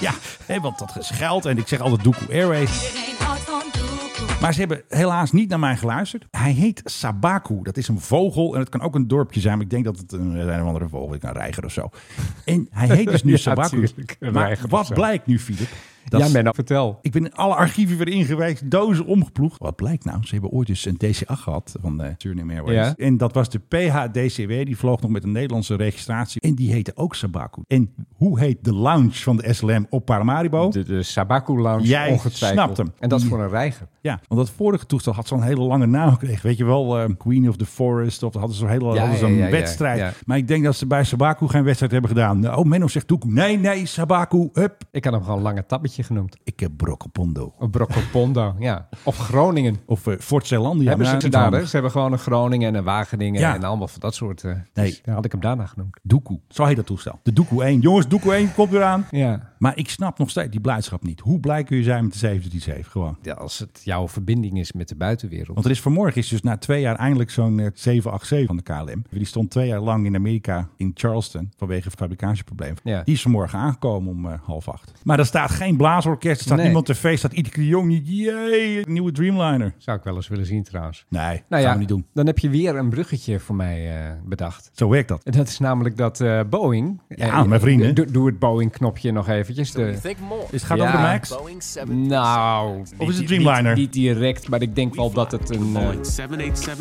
ja, hè, want dat gescheld. En ik zeg altijd Doekoe Airways. Maar ze hebben helaas niet naar mij geluisterd. Hij heet Sabaku. Dat is een vogel. En het kan ook een dorpje zijn. Maar ik denk dat het een, een of andere vogel is. Een reiger of zo. En hij heet dus nu Ja, Sabaku. tuurlijk, een Maar reiger of wat zo. blijkt nu, Filip? Ja, is- Menno, vertel. ik ben in alle archieven weer ingewijkt, dozen omgeploegd. Wat blijkt nou? Ze hebben ooit dus een DC-8 gehad van eh Suriname Airways. Ja. En dat was de PHDCW. Die vloog nog met een Nederlandse registratie. En die heette ook Sabaku. En hoe heet de lounge van de SLM op Paramaribo? De, de Sabaku Lounge, Jij ongetwijfeld. snapt hem. En dat is voor een reiger. Ja, want dat vorige toestel had zo'n hele lange naam gekregen. Weet je wel, eh, Queen of the Forest. Of hadden ze zo'n hele Ja, hadden ze ja, een ja, ja, wedstrijd. ja. Maar ik denk dat Nou, ze bij Sabaku geen wedstrijd hebben gedaan. Oh, Menno zegt Doekoe. Nee, nee, Sabaku. Hup, Ik kan hem gewoon een lange tabbetje je genoemd? Ik heb Brokkelpondo. Of Brokkelpondo, ja. Of Groningen. Of eh, Fort Zeelandia. maar hebben ze nou, het daar, niet hè? Ze hebben gewoon een Groningen en een Wageningen Ja. en allemaal van dat soort. eh, Nee. dus daar had ik hem daarna genoemd. Doekoe. Zo heet dat toestel. De Doekoe 1. Jongens, Doekoe 1 komt weer aan. Ja. Maar ik snap nog steeds die blijdschap niet. Hoe blij kun je zijn met de 737 gewoon? ja. Als het jouw verbinding is met de buitenwereld. Want er is vanmorgen is dus na twee jaar eindelijk zo'n eh, 787 van de KLM. Die stond twee jaar lang in Amerika in Charleston vanwege het fabricatieprobleem. Ja. Die is vanmorgen aangekomen om eh, half acht. Maar er staat geen blaasorkest, er staat Nee. niemand te feest, staat Ietke de Jong niet. Jee, een nieuwe Dreamliner. Zou ik wel eens willen zien trouwens. Nee, Nou gaan ja, we niet doen. dan heb je weer een bruggetje voor mij eh, bedacht. Zo werkt dat. En dat is namelijk dat eh, Boeing... Ja, mijn vrienden. Doe, doe het Boeing-knopje nog eventjes. De, Think more. Is het gaat Ja. over de Max? nou... Of niet- is het Dreamliner? Niet, niet direct, maar ik denk wel dat het een... eh,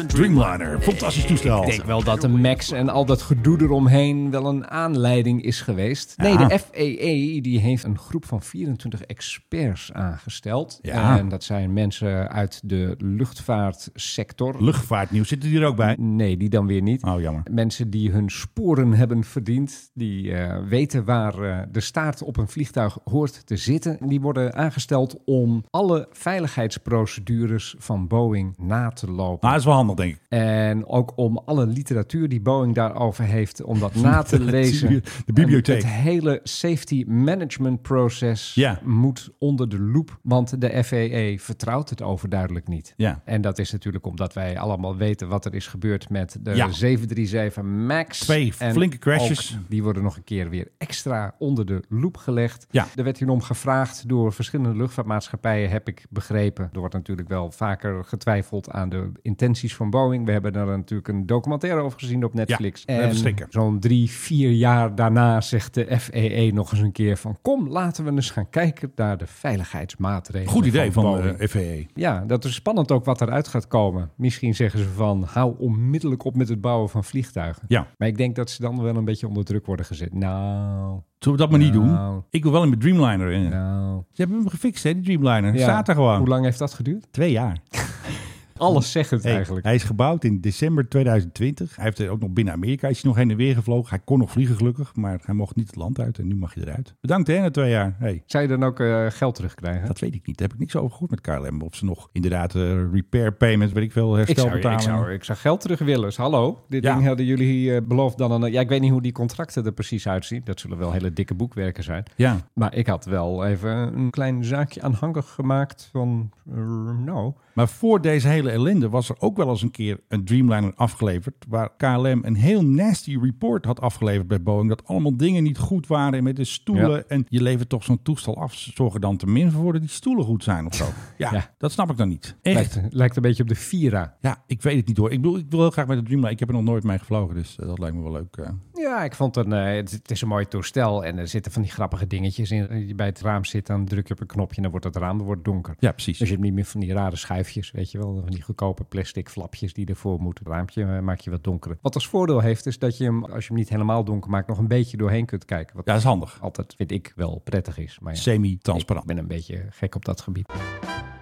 Dreamliner, fantastisch toestel. ik denk wel dat de MAX en al dat gedoe eromheen wel een aanleiding is geweest. Nee, Ja. de FAA die heeft een groep van 24 experts aangesteld. Ja. En dat zijn mensen uit de luchtvaartsector. Luchtvaartnieuws, zitten die er ook bij? nee, die dan weer niet. Oh, jammer. Mensen die hun sporen hebben verdiend, die eh, weten waar eh, de staart op een vliegtuig hoort te zitten. Die worden aangesteld om alle veiligheidsprocedures van Boeing na te lopen. Maar dat is wel handig, denk ik. En ook om alle literatuur die Boeing daarover heeft, om dat na te lezen. De bibliotheek. En Het hele safety management proces Ja. moet onder de loep, want de FAA vertrouwt het overduidelijk niet. Ja. En dat is natuurlijk omdat wij allemaal weten wat er is gebeurd met de Ja. 737 MAX. Twee En flinke crashes. ook die worden nog een keer weer extra onder de loep gelegd. Ja. Er werd hier om gevraagd door verschillende luchtvaartmaatschappijen, heb ik begrepen. Er wordt natuurlijk wel vaker getwijfeld aan de intenties van Boeing. We hebben daar natuurlijk een documentaire over gezien op Netflix. Ja, even en schrikken. zo'n drie, vier jaar daarna zegt de FAA nog eens een keer van... kom, laten we eens gaan kijken naar de veiligheidsmaatregelen Goed idee van eh, Boeing. de FVE. Ja, dat is spannend ook wat eruit gaat komen. Misschien zeggen ze van, hou onmiddellijk op met het bouwen van vliegtuigen. Ja, Maar ik denk dat ze dan wel een beetje onder druk worden gezet. Nou, zullen we dat maar niet Nou. doen? Ik wil wel in mijn Dreamliner in. nou. Ze hebben hem gefixt, hè, die Dreamliner. Ja. Staat er gewoon. Hoe lang heeft dat geduurd? Twee jaar. Alles zegt het Hey, eigenlijk. Hij is gebouwd in december 2020. Hij heeft er ook nog binnen Amerika is hij nog heen en weer gevlogen. Hij kon nog vliegen gelukkig, maar hij mocht niet het land uit. En nu mag je eruit. Bedankt hè, na twee jaar. Hey, Zou je dan ook eh, geld terugkrijgen? dat weet ik niet. Daar heb ik niks over gehoord met KLM. Of ze nog inderdaad eh, repair payments, weet ik veel, Ik zou, herstelbetalingen. ik, zou, ik zou geld terug willen. Dus hallo, dit Ja. ding hadden jullie eh, beloofd dan aan... Ja, ik weet niet hoe die contracten er precies uitzien. Dat zullen wel hele dikke boekwerken zijn. Ja, Maar ik had wel even een klein zaakje aanhangig gemaakt van... eh, nou, maar voor deze hele ellende was er ook wel eens een keer een Dreamliner afgeleverd. Waar KLM een heel nasty report had afgeleverd bij Boeing. Dat allemaal dingen niet goed waren met de stoelen. Ja. En je levert toch zo'n toestel af. Zorg er dan tenminste voor dat die stoelen goed zijn of zo. Ja, Ja. dat snap ik dan niet. Echt. lijkt, lijkt een beetje op de Vira. Ja, ik weet het niet hoor. Ik bedoel, ik wil heel graag met de Dreamliner. Ik heb er nog nooit mee gevlogen, dus eh, dat lijkt me wel leuk. eh. Ja, ik vond een, eh, het, het is een mooi toestel en er zitten van die grappige dingetjes in. Als je bij het raam zit, dan druk je op een knopje en dan wordt het raam dan wordt het donker. Ja, precies. Dus je hebt niet meer van die rare schuifjes, weet je wel. Van die goedkope plastic flapjes die ervoor moeten. Het raampje eh, maak je wat donkerder. Wat als voordeel heeft, is dat je hem, als je hem niet helemaal donker maakt, nog een beetje doorheen kunt kijken. Wat Ja, dat is handig. altijd, vind ik, wel prettig is. Maar ja, ik Semi-transparant. ben een beetje gek op dat gebied.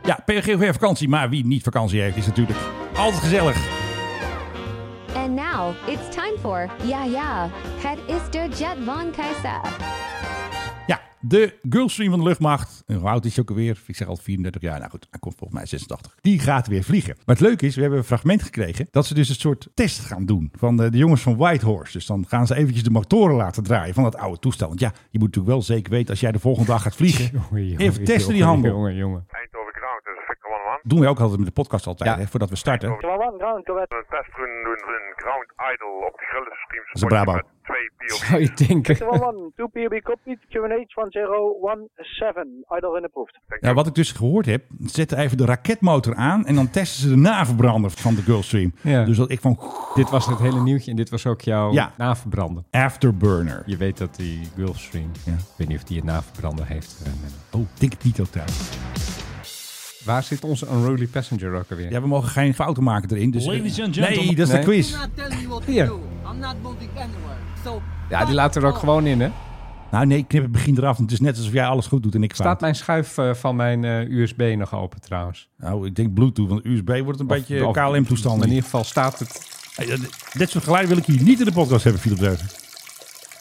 Ja, PGV vakantie. Maar wie niet vakantie heeft, is natuurlijk altijd gezellig. And now it's time for Yeah Yeah. Het is de Jet von Kaiser. Ja, de Gulfstream van de luchtmacht. En Hoe oud is hij ook alweer? Ik zeg al 34 jaar. Nou goed, hij komt volgens mij 86. Die gaat weer vliegen. Maar het leuke is, we hebben een fragment gekregen dat ze dus een soort test gaan doen van eh, de, de jongens van Whitehorse. Dus dan gaan ze eventjes de motoren laten draaien van dat oude toestel. Want ja, je moet natuurlijk wel zeker weten als jij de volgende dag gaat vliegen. Even testen die handel. Jongen, jongen. Eindhoven Ground, dat is Victor One One. doen wij ook altijd met de podcast altijd, Ja. hè, voordat we starten. Een testrun doen we een Ground Idle op de Gulf Stream. is een Brabo. Met twee POV. Zou je denken? 1, 2 PB copy, QNH 1017. Idle and approved. Ja, wat ik dus gehoord heb, ze zetten even de raketmotor aan en dan testen ze de naverbrander van de Gulfstream. Ja. Dus dat ik van Dit was het hele nieuwtje en dit was ook jouw Ja. naverbranden. afterburner. Je weet dat die Gulfstream, Ja. ik weet niet of die het naverbranden heeft. eh, Menno. Oh, ik denk het niet ook daar. Waar zit onze unruly passenger ook alweer? Ja, we mogen geen fouten maken erin. Dus, Ladies and gentlemen. Nee, dat is Nee. de quiz. Hier. Ja, die laat er ook gewoon in, hè? Nou nee, knip het begin eraf. want Het is net alsof jij alles goed doet en ik Staat fout. mijn schuif eh, van mijn eh, USB nog open trouwens? Nou, ik denk Bluetooth, want USB wordt een beetje Eh, Of- of- KLM-toestand. In ieder geval staat het... Dit soort geluiden wil ik hier niet in de podcast hebben, Philip Deugen.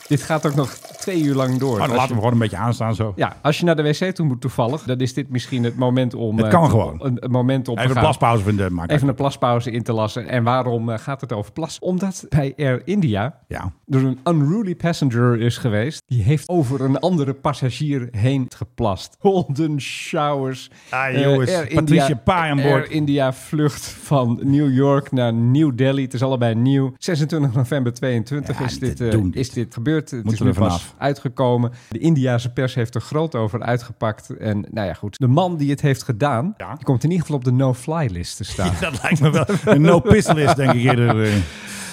Dit gaat ook nog twee uur lang door. Maar Als Oh, dan laten we je- gewoon een beetje aanstaan zo. ja, als je naar de wc toe moet toevallig, dan is dit misschien het moment om... Het eh, kan gewoon. Een, een moment om te Even een gaan- plaspauze vinden maken. Even een plaspauze in te lassen. En waarom eh, gaat het over plas? Omdat bij Air India Ja. er een unruly passenger is geweest. Die heeft over een andere passagier heen geplast. Golden showers. Ah, Eh, jongens, Air Patricia Pai aan boord. Air India vlucht van New York naar New Delhi. Het is allebei nieuw. 26 november 22 Ja, is, niet dit, te eh, doen, dit. is dit gebeurd. Het Moeten is nu we er pas vanaf. uitgekomen. De Indiase pers heeft er groot over uitgepakt. En nou ja, goed. De man die het heeft gedaan, Ja. die komt in ieder geval op de no-fly list te staan. Dat lijkt me wel een no-piss list, denk ik eerder. eh.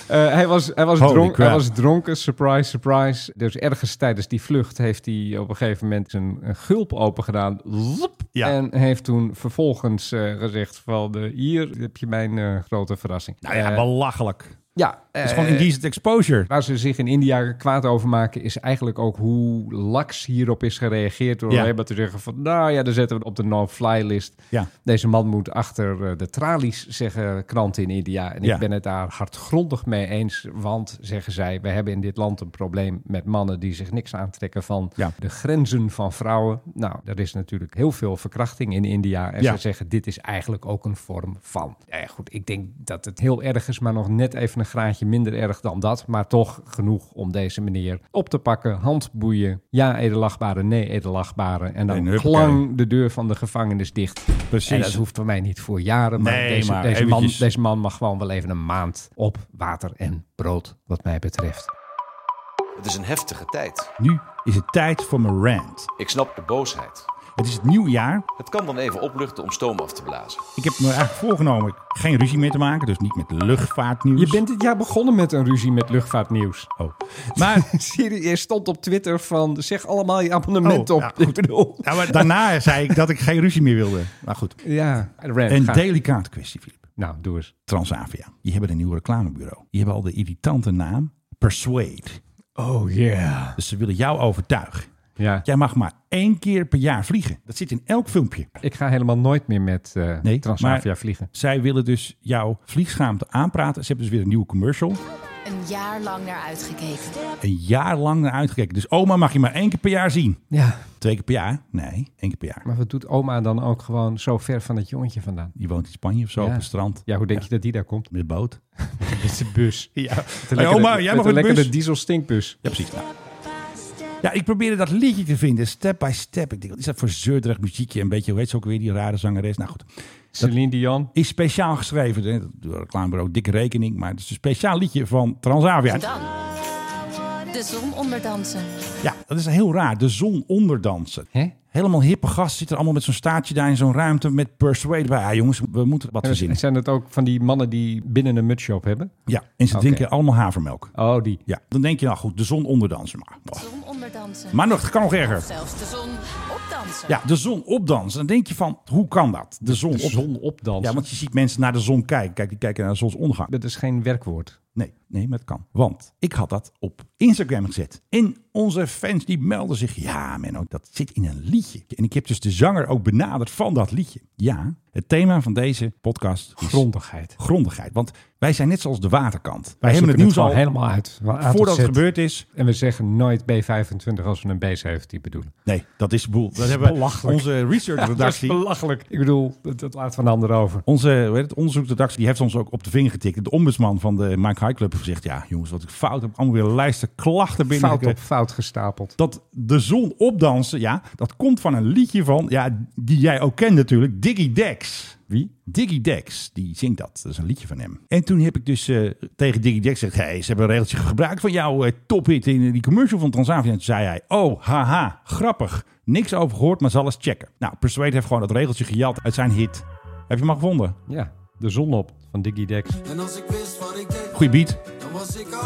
Eh, hij, was, hij, was Holy dronk, hij crap. was dronken, surprise, surprise. Dus ergens tijdens die vlucht heeft hij op een gegeven moment zijn een gulp open gedaan. Zoep. Ja. En heeft toen vervolgens eh, gezegd van eh, hier heb je mijn eh, grote verrassing. Nou ja, Eh, belachelijk. Het ja is eh, gewoon indecent exposure. Waar ze zich in India kwaad over maken, is eigenlijk ook hoe laks hierop is gereageerd. Door Ja. alleen maar te zeggen van, nou ja, dan zetten we het op de no-fly list. Ja. Deze man moet achter eh, de tralies, zeggen kranten in India. En Ja. ik ben het daar hardgrondig mee eens. Want, zeggen zij, we hebben in dit land een probleem met mannen die zich niks aantrekken van Ja. de grenzen van vrouwen. Nou, er is natuurlijk heel veel verkrachting in India. En Ja. ze zeggen, dit is eigenlijk ook een vorm van. Nou ja, goed, ik denk dat het heel erg is, maar nog net even een graadje minder erg dan dat. Maar toch genoeg om deze meneer op te pakken. Handboeien, ja edelachbare, nee edelachbare. En En dan huppakee. klang de deur van de gevangenis dicht. Precies. En dat hoeft voor mij niet voor jaren. Maar, Nee, deze, maar deze, man, eventjes. deze man mag gewoon wel even een maand op water en brood, wat mij betreft. Het is een heftige tijd. Nu is het tijd voor mijn rant. Ik snap de boosheid. Het is het nieuwe jaar. Het kan dan even opluchten om stoom af te blazen. Ik heb me eigenlijk voorgenomen geen ruzie meer te maken. Dus niet met luchtvaartnieuws. Je bent dit jaar begonnen met een ruzie met luchtvaartnieuws. Oh. Maar Siri, je stond op Twitter van zeg allemaal je abonnement Oh, op. ja, Ja, goed. ik bedoel. Ja, maar daarna zei ik dat ik geen ruzie meer wilde. Maar goed. Nou, Ja, Rand, Een ga. delicate kwestie, Filip. Nou, doe eens. Transavia. Die hebben een nieuw reclamebureau. Die hebben al de irritante naam Persuade. Oh yeah. Dus ze willen jou overtuigen. Ja, Jij mag maar één keer per jaar vliegen. Dat zit in elk filmpje. ik ga helemaal nooit meer met eh, Nee, Transavia maar- vliegen. Zij willen dus jouw vliegschaamte aanpraten. Ze hebben dus weer een nieuwe commercial. Een jaar lang naar uitgekeken. Een jaar lang naar uitgekeken. Dus oma mag je maar één keer per jaar zien. Ja, Twee keer per jaar? Nee, één keer per jaar. maar wat doet oma dan ook gewoon zo ver van het jongetje vandaan? Je woont in Spanje of zo Ja. op het strand. Ja, hoe denk je dat die daar komt? Met de boot. Met de bus. Ja. Een Hey, oma, jij mag een met de lekkere bus. diesel stinkbus. Ja, precies. Nou. Ja, ik probeerde dat liedje te vinden. Step by step. Ik denk, wat is dat voor zeurderig muziekje? Een beetje, hoe heet ze ook weer, die rare zangeres? Nou goed. Celine Dion. Is speciaal geschreven. hè. Dat doet het reclamebureau dikke rekening. Maar het is een speciaal liedje van Transavia. Dan de zon onderdansen. Ja, dat is heel raar. De zon onderdansen. Hè? Helemaal hippe gast zit er allemaal met zo'n staartje daar in zo'n ruimte met Persuade bij. Ja, jongens, we moeten wat En verzinnen. zijn het ook van die mannen die binnen een mutsje op hebben? Ja, en ze Oké. drinken allemaal havermelk. Oh, die. Ja, dan denk je, nou goed, de zon onderdansen. Maar, De zon onderdansen. maar nog, het kan nog erger. Zelfs de zon opdansen. Ja, de zon opdansen. Dan denk je van, hoe kan dat? De zon, De op- zon opdansen. Ja, want je ziet mensen naar de zon kijken. Kijk, die kijken naar de zonsondergang. Dat is geen werkwoord. Nee, nee, maar het kan. Want ik had dat op Instagram gezet. En onze fans die melden zich. Ja, Menno, dat zit in een liedje. En ik heb dus de zanger ook benaderd van dat liedje. Ja, het thema van deze podcast is Grondigheid. grondigheid. Want wij zijn net zoals de waterkant. Wij, We hebben het nieuws al helemaal uit. Van A tot voordat het Z. gebeurd is. En we zeggen nooit B25 als we een B17 bedoelen. Nee, dat is boel. Dat hebben we belachelijk. onze research redactie. belachelijk. Ik bedoel, dat, dat laat van de ander over. Onze hoe heet het, onderzoeksredactie die heeft ons ook op de vinger getikt. De ombudsman van de Mike High Club heeft gezegd... ja, jongens, wat ik fout heb. Allemaal weer lijsten klachten binnen. Fout op fout gestapeld. Dat de zon opdansen, ja, dat komt van een liedje van... ja, die jij ook kent natuurlijk, Diggy Dex. Wie? Diggy Dex, die zingt dat. Dat is een liedje van hem. En toen heb ik dus eh, tegen Diggy Dex gezegd... hey, ze hebben een regeltje gebruikt van jouw eh, tophit in die commercial van Transavia. En toen zei hij, oh, haha, grappig. Niks over gehoord, maar zal eens checken. Nou, Persuade heeft gewoon dat regeltje gejat uit zijn hit. Heb je hem al gevonden? Ja, de zon op van Diggy Dex. Goeie beat.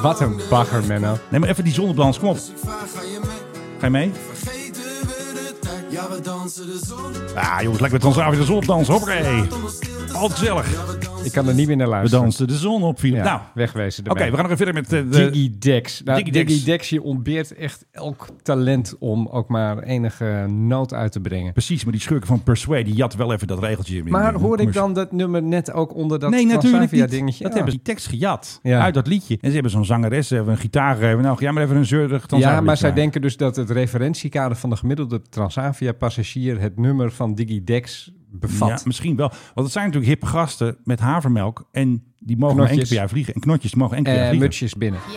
Wat een bagger, Menno. Neem maar even die zonnebalans, kom op. Ga je mee? Ah, jongens, lekker met Transavia de zon op dansen. Hoppakee. Al gezellig. Ik kan er niet meer naar We luisteren. dansen de zon op. Philip. Ja, nou, oké, wegwezen we gaan nog even verder met eh, de... DigiDex. Nou, Digidex. DigiDex. je ontbeert echt elk talent om ook maar enige nood uit te brengen. Precies, maar die schurken van Persuade, die jat wel even dat regeltje in. Maar in- hoor ik commercial. dan dat nummer net ook onder dat nee, natuurlijk niet. dingetje? Ah. Dat hebben ze die tekst gejat Ja. uit dat liedje. En ze hebben zo'n zangeres, ze hebben een gitaar gegeven. Nou, ga jij maar even een zeurig. dan zijn we ja, er maar weer zij klaar. denken dus dat het referentiekader van de gemiddelde Transavia-passagier het nummer van DigiDex bevat. Ja, misschien wel. Want het zijn natuurlijk hippe gasten met havermelk. En die mogen maar één keer Knotjes. per jaar vliegen. En knotjes die mogen één keer per jaar Eh vliegen. mutsjes binnen. Ja,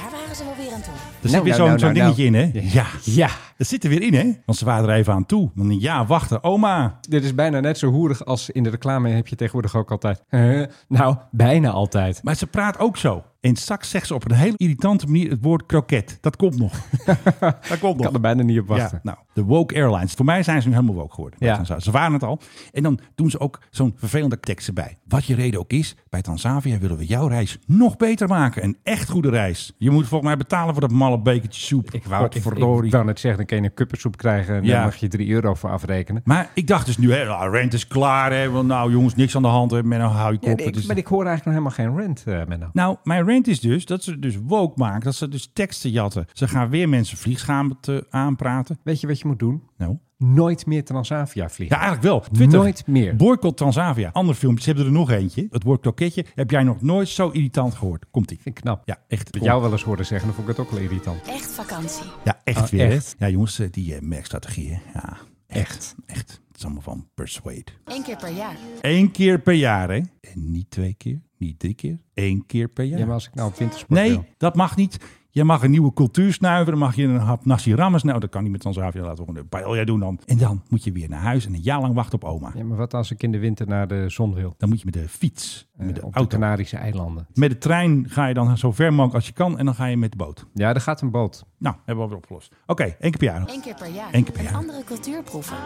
daar waren ze wel weer aan toe. Er zit Nou, weer zo'n nou, nou, zo'n nou, dingetje in, hè? nou. Ja. Ja, Dat zit er weer in, hè? Want ze waren er even aan toe. Want ja, wachten, oma. dit is bijna net zo hoerig als in de reclame heb je tegenwoordig ook altijd. Eh, nou, bijna altijd. Maar ze praat ook zo. En straks zegt ze op een hele irritante manier het woord kroket. Dat komt nog. dat komt Ik nog. kan er bijna niet op wachten. Ja, nou, de woke airlines. Voor mij zijn ze nu helemaal woke geworden. bij Ja. Transavia. Ze waren het al. En dan doen ze ook zo'n vervelende tekst erbij. Wat je reden ook is, bij Transavia willen we jouw reis nog beter maken. Een echt goede reis. Je moet volgens mij betalen voor dat malle bekertje soep. Ik wou, ik, Godverdorie. ik wou net zeggen, dan kun je een kuppensoep krijgen en Ja. daar mag je 3 euro voor afrekenen. Maar ik dacht dus nu, hè, nou, rent is klaar. Hè, want nou jongens, niks aan de hand. Hè, Menno, hou je kop. Het is- maar ik hoor eigenlijk nog helemaal geen rent, eh Menno. Nou, mijn rant is dus dat ze dus woke maken. Dat ze dus teksten jatten. Ze gaan weer mensen vliegschaamte aanpraten. Weet je wat je moet doen? Nou, Nooit meer Transavia vliegen. Ja, eigenlijk wel. Twitter. Nooit meer. Boycott Transavia. Ander filmpje. Ze hebben er nog eentje. Het woord kroketje heb jij nog nooit zo irritant gehoord. Komt-ie. Vind ik knap. Ja, echt. Ik heb jou wel eens horen zeggen, dan vond ik het ook wel irritant. Echt vakantie. Ja, echt Ah, weer. hè? echt? Ja, jongens, eh, die eh, merkstrategie. hè. Ja, echt. Echt. Het is allemaal van Persuade. Eén keer per jaar. Eén keer per jaar, hè? En niet twee keer, niet drie keer. Eén keer per jaar. Ja, maar als ik nou op wintersport Nee, wil. dat mag niet. Je mag een nieuwe cultuur snuiven. Dan mag je een hap nasi rammers. Nou, dat kan niet met Transavia. Laten we gewoon een paella doen dan. En dan moet je weer naar huis en een jaar lang wachten op oma. Ja, maar wat als ik in de winter naar de zon wil? Dan moet je met de fiets, met de Eh, op de auto. Canarische eilanden. Met de trein ga je dan zo ver mogelijk als je kan. En dan ga je met de boot. Ja, daar gaat een boot. Nou, hebben we alweer opgelost. Oké, één keer per jaar. Eén keer per jaar. Eén keer per een jaar. andere cultuur proeven.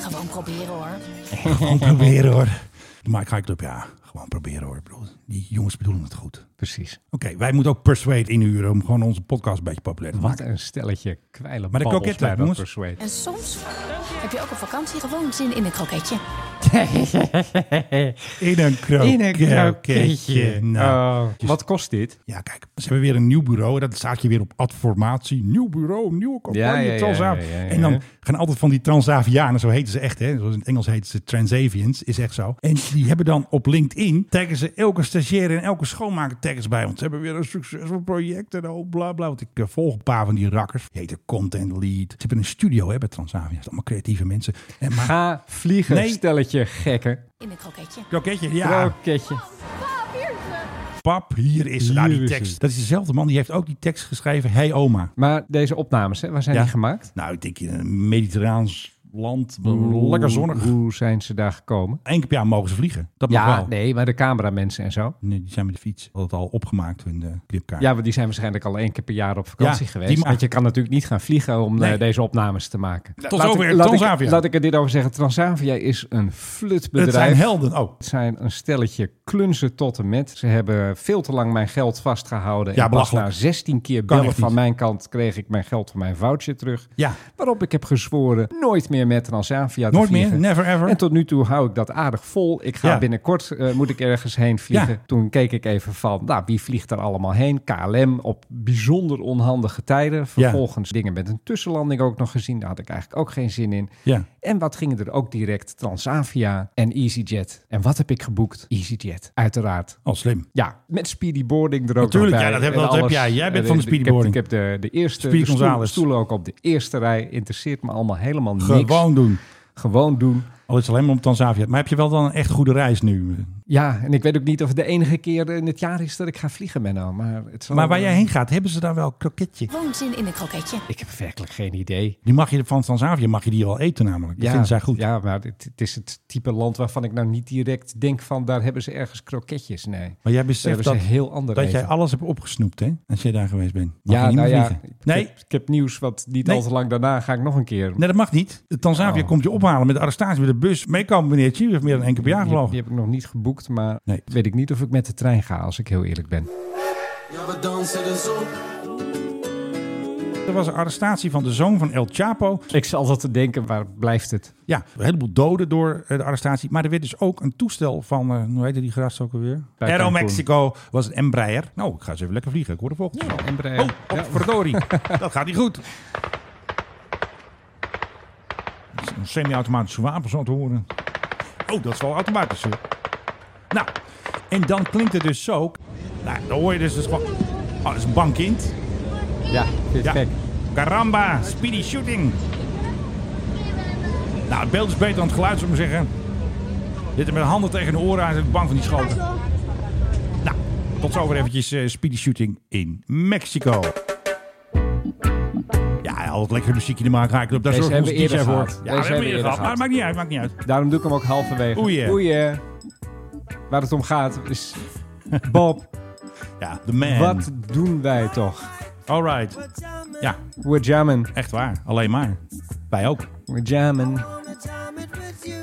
Gewoon proberen hoor. Gewoon proberen hoor. De Mike High Club, ja. Gewoon proberen hoor. Ik bedoel, Die jongens bedoelen het goed. Precies. Oké, wij moeten ook Persuade inhuren om gewoon onze podcast een beetje populair te Wat maken. een stelletje kwijlen Maar de babbels kroketten, bij dat jongens. persuade. En soms heb je ook op vakantie gewoon zin in een kroketje. In een kroketje. Nou. Oh, wat kost dit? Ja, kijk, ze hebben weer een nieuw bureau. Dat staat je weer op adformatie. Nieuw bureau, nieuwe campagne, Ja, ja, ja, Transavia. ja, ja, ja. En dan gaan altijd van die Transavianen, zo heten ze echt, hè? Zoals in het Engels heten ze Transavians, is echt zo. En die hebben dan op LinkedIn, taggen ze elke stagiair en elke schoonmaker taggers bij ons. Ze hebben weer een succesvol project en oh, bla, bla. Want ik eh, volg een paar van die rakkers. Die heten Content Lead. Ze hebben een studio hè, bij Transavia. Dat zijn allemaal creatieve mensen. En maar... Ga vliegen, Nee. Ah. stelletje gekken. In een kroketje. Kroketje, ja. Kroketje. Pap, hier is ze. Nou, die Hier is tekst. het. Dat is dezelfde man. Die heeft ook die tekst geschreven. Hey oma. Maar deze opnames, hè, waar zijn Ja. die gemaakt? Nou, ik denk in een mediterraans land. lekker zonnig. Hoe, hoe zijn ze daar gekomen? Eén keer per jaar mogen ze vliegen. Dat mag Ja, wel. Nou. nee, maar de cameramensen en zo. Nee, die zijn met de fiets. Altijd al opgemaakt hun de clipkaart. Ja, want die zijn waarschijnlijk al één keer per jaar op vakantie Ja, die geweest. maken- Want je kan natuurlijk niet gaan vliegen om eh, Nee. deze opnames te maken. Tot Laat ik- zover laat ik- Transavia. Laat ik er dit over zeggen. Transavia is een flutbedrijf. het zijn helden. Oh, Het zijn een stelletje klunzen tot en met. Ze hebben veel te lang mijn geld vastgehouden. Ja, en pas belachelijk. na 16 keer Kan bellen echt niet. van mijn kant kreeg ik mijn geld van mijn voucher terug. ja. Waarop ik heb gezworen nooit meer met Transavia te Nooit vliegen. meer. Never ever. En tot nu toe hou ik dat aardig vol. Ik ga Ja. binnenkort, eh, moet ik ergens heen vliegen. Ja. Toen keek ik even van, nou, wie vliegt er allemaal heen? KLM op bijzonder onhandige tijden. Vervolgens dingen met een tussenlanding ook nog gezien. Daar had ik eigenlijk ook geen zin in. Ja. En wat gingen er ook direct? Transavia en EasyJet. En wat heb ik geboekt? EasyJet, uiteraard. Al slim. Ja, met speedy boarding er ook Natuurlijk, nog ja, bij. dat heb- En dat heb alles. jij. Jij bent Eh, van de ik speedy heb- boarding. Ik heb, de, de eerste Speedy de stoel- Gonzales. stoelen ook op de eerste rij. Interesseert me allemaal helemaal niks. Gewoon doen. Gewoon doen. Al is het alleen maar om Tanzavia. Maar heb je wel dan een echt goede reis nu? Ja, en ik weet ook niet of het de enige keer in het jaar is dat ik ga vliegen, Menno. Maar, het zal- Maar waar jij heen gaat, hebben ze daar wel een kroketje? Gewoon zin in een kroketje. Ik heb werkelijk geen idee. Die mag je van Tanzavia mag je die al eten namelijk. Dat vinden zij goed. Ja, maar het, het is het type land waarvan ik nou niet direct denk van... daar hebben ze ergens kroketjes. Nee, Maar jij daar beseft hebben ze dat, heel ander dat jij eten. alles hebt opgesnoept, hè? Als jij daar geweest bent. Mag Ja, je niet nou meer ja, vliegen. ik, Nee, heb, ik heb nieuws, want niet Nee. al te lang daarna ga ik nog een keer. Nee, dat mag niet. Tanzavia Oh. komt je ophalen met de arrestatie, met de bus. Meekomen, meneertje. U heeft meer dan één keer per jaar die, gelogen. die heb ik nog niet geboekt, maar Nee. weet ik niet of ik met de trein ga, als ik heel eerlijk ben. Ja, we dansen de zon. Er was een arrestatie van de zoon van El Chapo. Ik zal altijd te denken, waar blijft het? Ja, een heleboel doden door eh, de arrestatie. Maar er werd dus ook een toestel van, eh, hoe heette die gras ook alweer? Bij Aero Cancun. Mexico was een Embraer. Nou, ik ga eens even lekker vliegen. Ik word de volgende. Ja, Embraer. Oh, op Ja. verdorie. Dat gaat niet goed. Dat is Een semi-automatische wapen zo te horen. Oh, dat is wel automatisch. hoor. Nou, en dan klinkt het dus zo. Nou, dan hoor je dus, dus gewoon... Oh, dat is een bang kind. Ja, vind je het Ja. gek. Caramba, speedy shooting. Nou, het beeld is beter dan het geluid, zou ik maar zeggen. Zitten met handen tegen de oren aan, zijn bang van die schoten. Nou, tot zover eventjes eh, speedy shooting in Mexico. Ja, altijd lekkere muziekje te maken. Ga ik op daar Deze zorgt onze hebben we DJ eerder voor. Ja, gehad. Deze dat hebben we eerder gehad. Maar gehad. het maakt niet uit, maakt niet uit. Daarom doe ik hem ook halverwege. Oeie. Oeie. Waar het om gaat is... Bob, Ja, the man. wat doen wij toch? All right. Ja, We're jamming. echt waar. Alleen maar. Wij ook. We're jamming.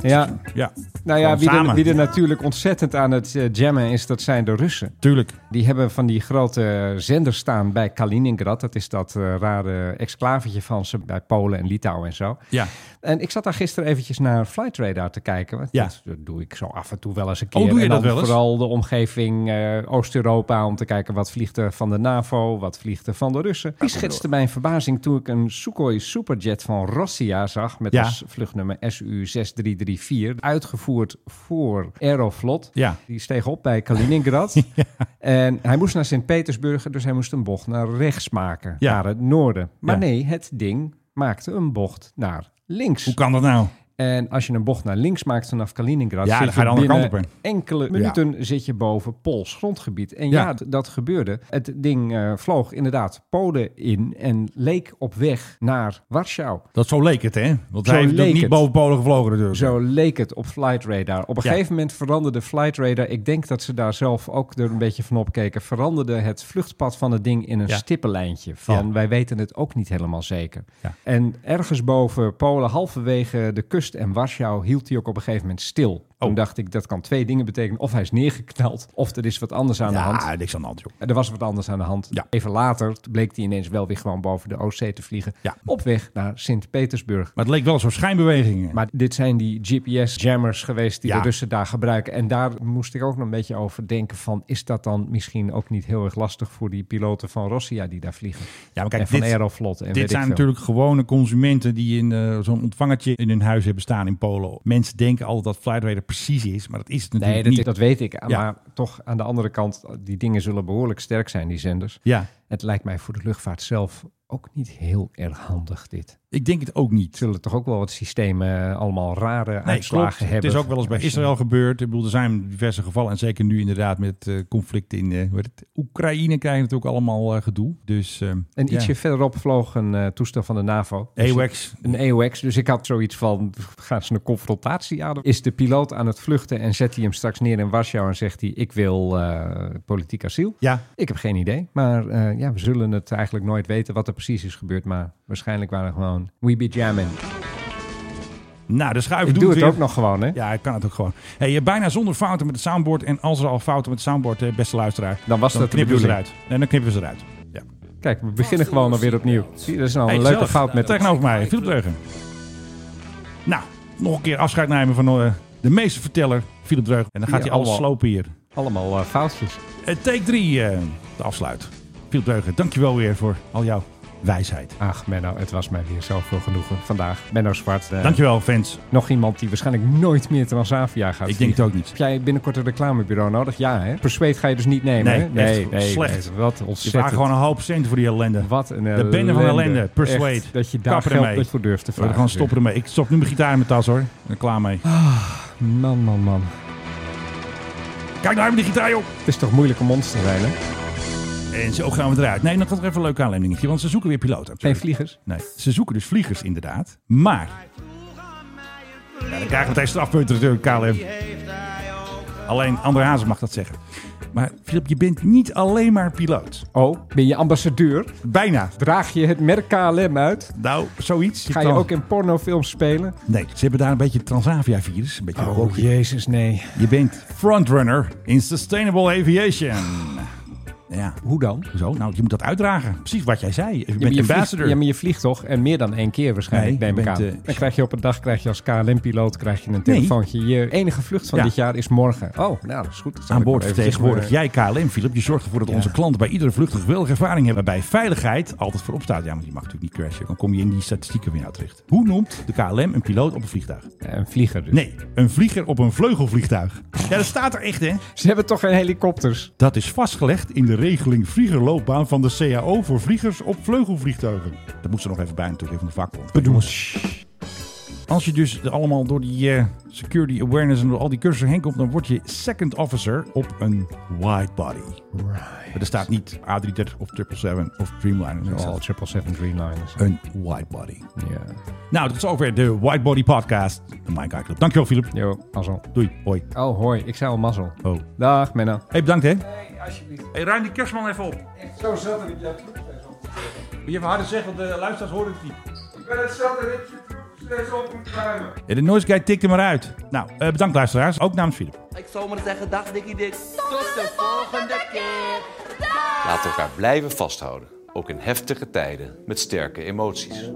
Ja, Ja, nou ja, Gewoon wie er, samen. wie er natuurlijk ontzettend aan het eh, jammen is, dat zijn de Russen. tuurlijk. Die hebben van die grote zenders staan bij Kaliningrad. Dat is dat eh, rare exclavetje van ze bij Polen en Litouwen en zo. Ja. En ik zat daar gisteren eventjes naar Flight Radar te kijken. Want Ja. dat, dat doe ik zo af en toe wel eens een keer. doe je en dat dan wel eens? Vooral de omgeving eh, Oost-Europa om te kijken wat vliegt er van de NAVO, wat vliegt er van de Russen. Die schetste mijn verbazing toen ik een Sukhoi Superjet van Rossia zag met Ja. als vluchtnummer SU-6334, uitgevoerd voor Aeroflot. Ja. Die steeg op bij Kaliningrad. En hij moest naar Sint-Petersburg, dus hij moest een bocht naar rechts maken, Ja. naar het noorden. Maar Ja. nee, het ding maakte een bocht naar links. Hoe kan dat nou? En als je een bocht naar links maakt vanaf Kaliningrad, Ja, zit dan ga je de je andere binnen kant op, enkele minuten zit je boven Pools grondgebied. En Ja. ja, d- dat gebeurde. Het ding eh, vloog inderdaad Polen in en leek op weg naar Warschau. Dat zo leek het, hè? Want Zo hij heeft leek niet het. boven Polen gevlogen dus. natuurlijk. Zo leek het op Flight Radar. Op een Ja. gegeven moment veranderde Flight Radar. Ik denk dat ze daar zelf ook er een beetje van opkeken. Veranderde het vluchtpad van het ding in een Ja. stippenlijntje. Van Ja. wij weten het ook niet helemaal zeker. Ja. En ergens boven Polen, halverwege de kust en Warschau, hield hij ook op een gegeven moment stil. Oh. Toen dacht ik dat kan twee dingen betekenen. Of hij is neergeknald, of er is wat anders aan de hand. Ja, niks aan de hand, joh. Er was wat anders aan de hand. Ja. Even later bleek hij ineens wel weer gewoon boven de Oostzee te vliegen. Ja. Op weg naar Sint-Petersburg. Maar het leek wel zo'n schijnbewegingen. Maar dit zijn die GPS-jammers geweest die Ja. de Russen daar gebruiken. En daar moest ik ook nog een beetje over denken van... is dat dan misschien ook niet heel erg lastig voor die piloten van Rossia die daar vliegen? ja, maar en kijk, van dit, Aeroflot en weet dit ik zijn veel. natuurlijk gewone consumenten die in eh, zo'n ontvangertje in hun huis hebben staan in Polen. Mensen denken altijd dat Flightradar precies is, maar dat is het natuurlijk Nee, dat, niet. dat weet ik. Ja. Maar toch aan de andere kant, die dingen zullen behoorlijk sterk zijn, die zenders. Ja, Het lijkt mij voor de luchtvaart zelf ook niet heel erg handig dit. ik denk het ook niet. Het zullen toch ook wel wat systemen eh, allemaal rare Nee, uitslagen klopt. hebben. Het is ook wel eens bij Als je- Israël gebeurd. Ik bedoel, er zijn diverse gevallen. En zeker nu inderdaad met het eh, conflict in eh, hoe heet het? Oekraïne krijgen natuurlijk allemaal eh, gedoe. Dus, ehm, En ja. ietsje verderop vloog een eh, toestel van de NAVO. Dus AWACS. Een EOX, dus ik had zoiets van, gaan ze een confrontatie aan? Is de piloot aan het vluchten en zet hij hem straks neer in Warschau en zegt hij, ik wil eh, politiek asiel? Ja, Ik heb geen idee, maar eh, ja, we zullen het eigenlijk nooit weten wat er precies is gebeurd, maar waarschijnlijk waren gewoon, we be jamming. nou, de schuiven Ik doen doe het het weer. ook nog gewoon, hè? Ja, ik kan het ook gewoon. Hey, eh, bijna zonder fouten met het soundboard. En als er al fouten met het soundboard, eh, beste luisteraar, Dan was dat de knippen we ze bedoeling. eruit. En dan knippen we ze eruit. Ja. Kijk, we beginnen gewoon alweer opnieuw. Zie, je, dat is nou een Hey, leuke zelf, fout met Tegenover mij, Philip Dreugen. Nou, nog een keer afscheid nemen van eh, de meeste verteller, Philip Dreugen. En dan gaat Ja, hij alles allemaal. slopen hier. allemaal eh, foutjes. Eh, take 3, de afsluit. Philip Dreugen, dankjewel weer voor al jouw wijsheid. Ach Menno, het was mij weer zoveel genoegen vandaag. Menno Zwart, eh, Dankjewel, fans. nog iemand die waarschijnlijk nooit meer Transavia gaat Ik denk het ook niet. Heb jij binnenkort een reclamebureau nodig? Ja, hè? Persuade ga je dus niet nemen, Nee, hè? echt slecht. nee, wat Je vraagt ontzettend. gewoon een hoop cent voor die ellende. Wat een eh, De bende van ellende, Persuade. Echt, dat je daar Kap geld ermee. niet voor durft te We gaan vragen. gewoon stoppen ermee. Ik stop nu mijn gitaar in mijn tas hoor. En klaar mee. Man, man, man. Kijk nou even die gitaar op. Het is toch moeilijk om ons te zijn, hè? En zo gaan we eruit. Nee, dan gaat er even een leuk aanleidingetje, want ze zoeken weer piloten. Geen vliegers. Nee, ze zoeken dus vliegers inderdaad. Maar... Ja, dan krijgen we meteen strafpunten natuurlijk, KLM. Alleen André Hazes mag dat zeggen. Maar Filip, je bent niet alleen maar piloot. Oh, ben je ambassadeur? Bijna. Draag je het merk KLM uit? Nou, zoiets. Ga je Dan- ook in pornofilms spelen? Nee, ze hebben daar een beetje het Transavia-virus. Een Oh, beetje rookje. jezus, nee. Je bent frontrunner in Sustainable Aviation. Ja. Hoe dan? Zo, nou, je moet dat uitdragen. Precies wat jij zei. Je Ja, maar bent je vliegt, ambassador. ja, maar je vliegt toch? En meer dan één keer waarschijnlijk, Nee, neem ik je aan. bent, eh, Dan krijg je op een dag krijg je als KLM-piloot krijg je een telefoontje. Je enige vlucht van Ja. dit jaar is morgen. Oh, nou, dat is goed. Dat zal aan ik boord nog eventjes, vertegenwoordig eh, jij KLM, Philip. Je zorgt ervoor dat onze klanten bij iedere vlucht een geweldige ervaring hebben. Waarbij veiligheid altijd voorop staat. Ja, want je mag natuurlijk niet crashen. Dan kom je in die statistieken weer nou terecht. Hoe noemt de KLM een piloot op een vliegtuig? Een vlieger dus. Nee, een vlieger op een vleugelvliegtuig. Ja, dat staat er echt, hè? Ze hebben toch geen helikopters? Dat is vastgelegd in de regeling vliegerloopbaan van de CAO voor vliegers op vleugelvliegtuigen. Dat moest er nog even bij natuurlijk even van de vakbond. Bedoels. Als je dus er allemaal door die eh, security awareness en door al die cursussen heen komt, dan word je second officer op een widebody. Maar er staat niet A330 of 777 of Dreamliner. Er Dat is al staat 777 Dreamliners. Een widebody. dus- Ja. Nou, dat is over de Widebody podcast. De Mike High Club. Dankjewel, Philip. Yo, mazzel. Doei. Hoi. Oh, hoi. Ik zei al mazzel. Oh. Dag, Menno. Hey, bedankt hè. alsjeblieft. Hey, ruim die kerstman even op. Zo zat ik dat. Moet je even harder zeggen, want de luisteraars horen het niet. Ik ben het zat dat ik je steeds op moet ruimen. Ja, de noise guy tikte maar uit. Nou, eh, bedankt luisteraars. Ook namens Philip. Ik zou maar zeggen, dag Dikkie Dik. Tot de volgende keer. Laat elkaar blijven vasthouden. Ook in heftige tijden met sterke emoties.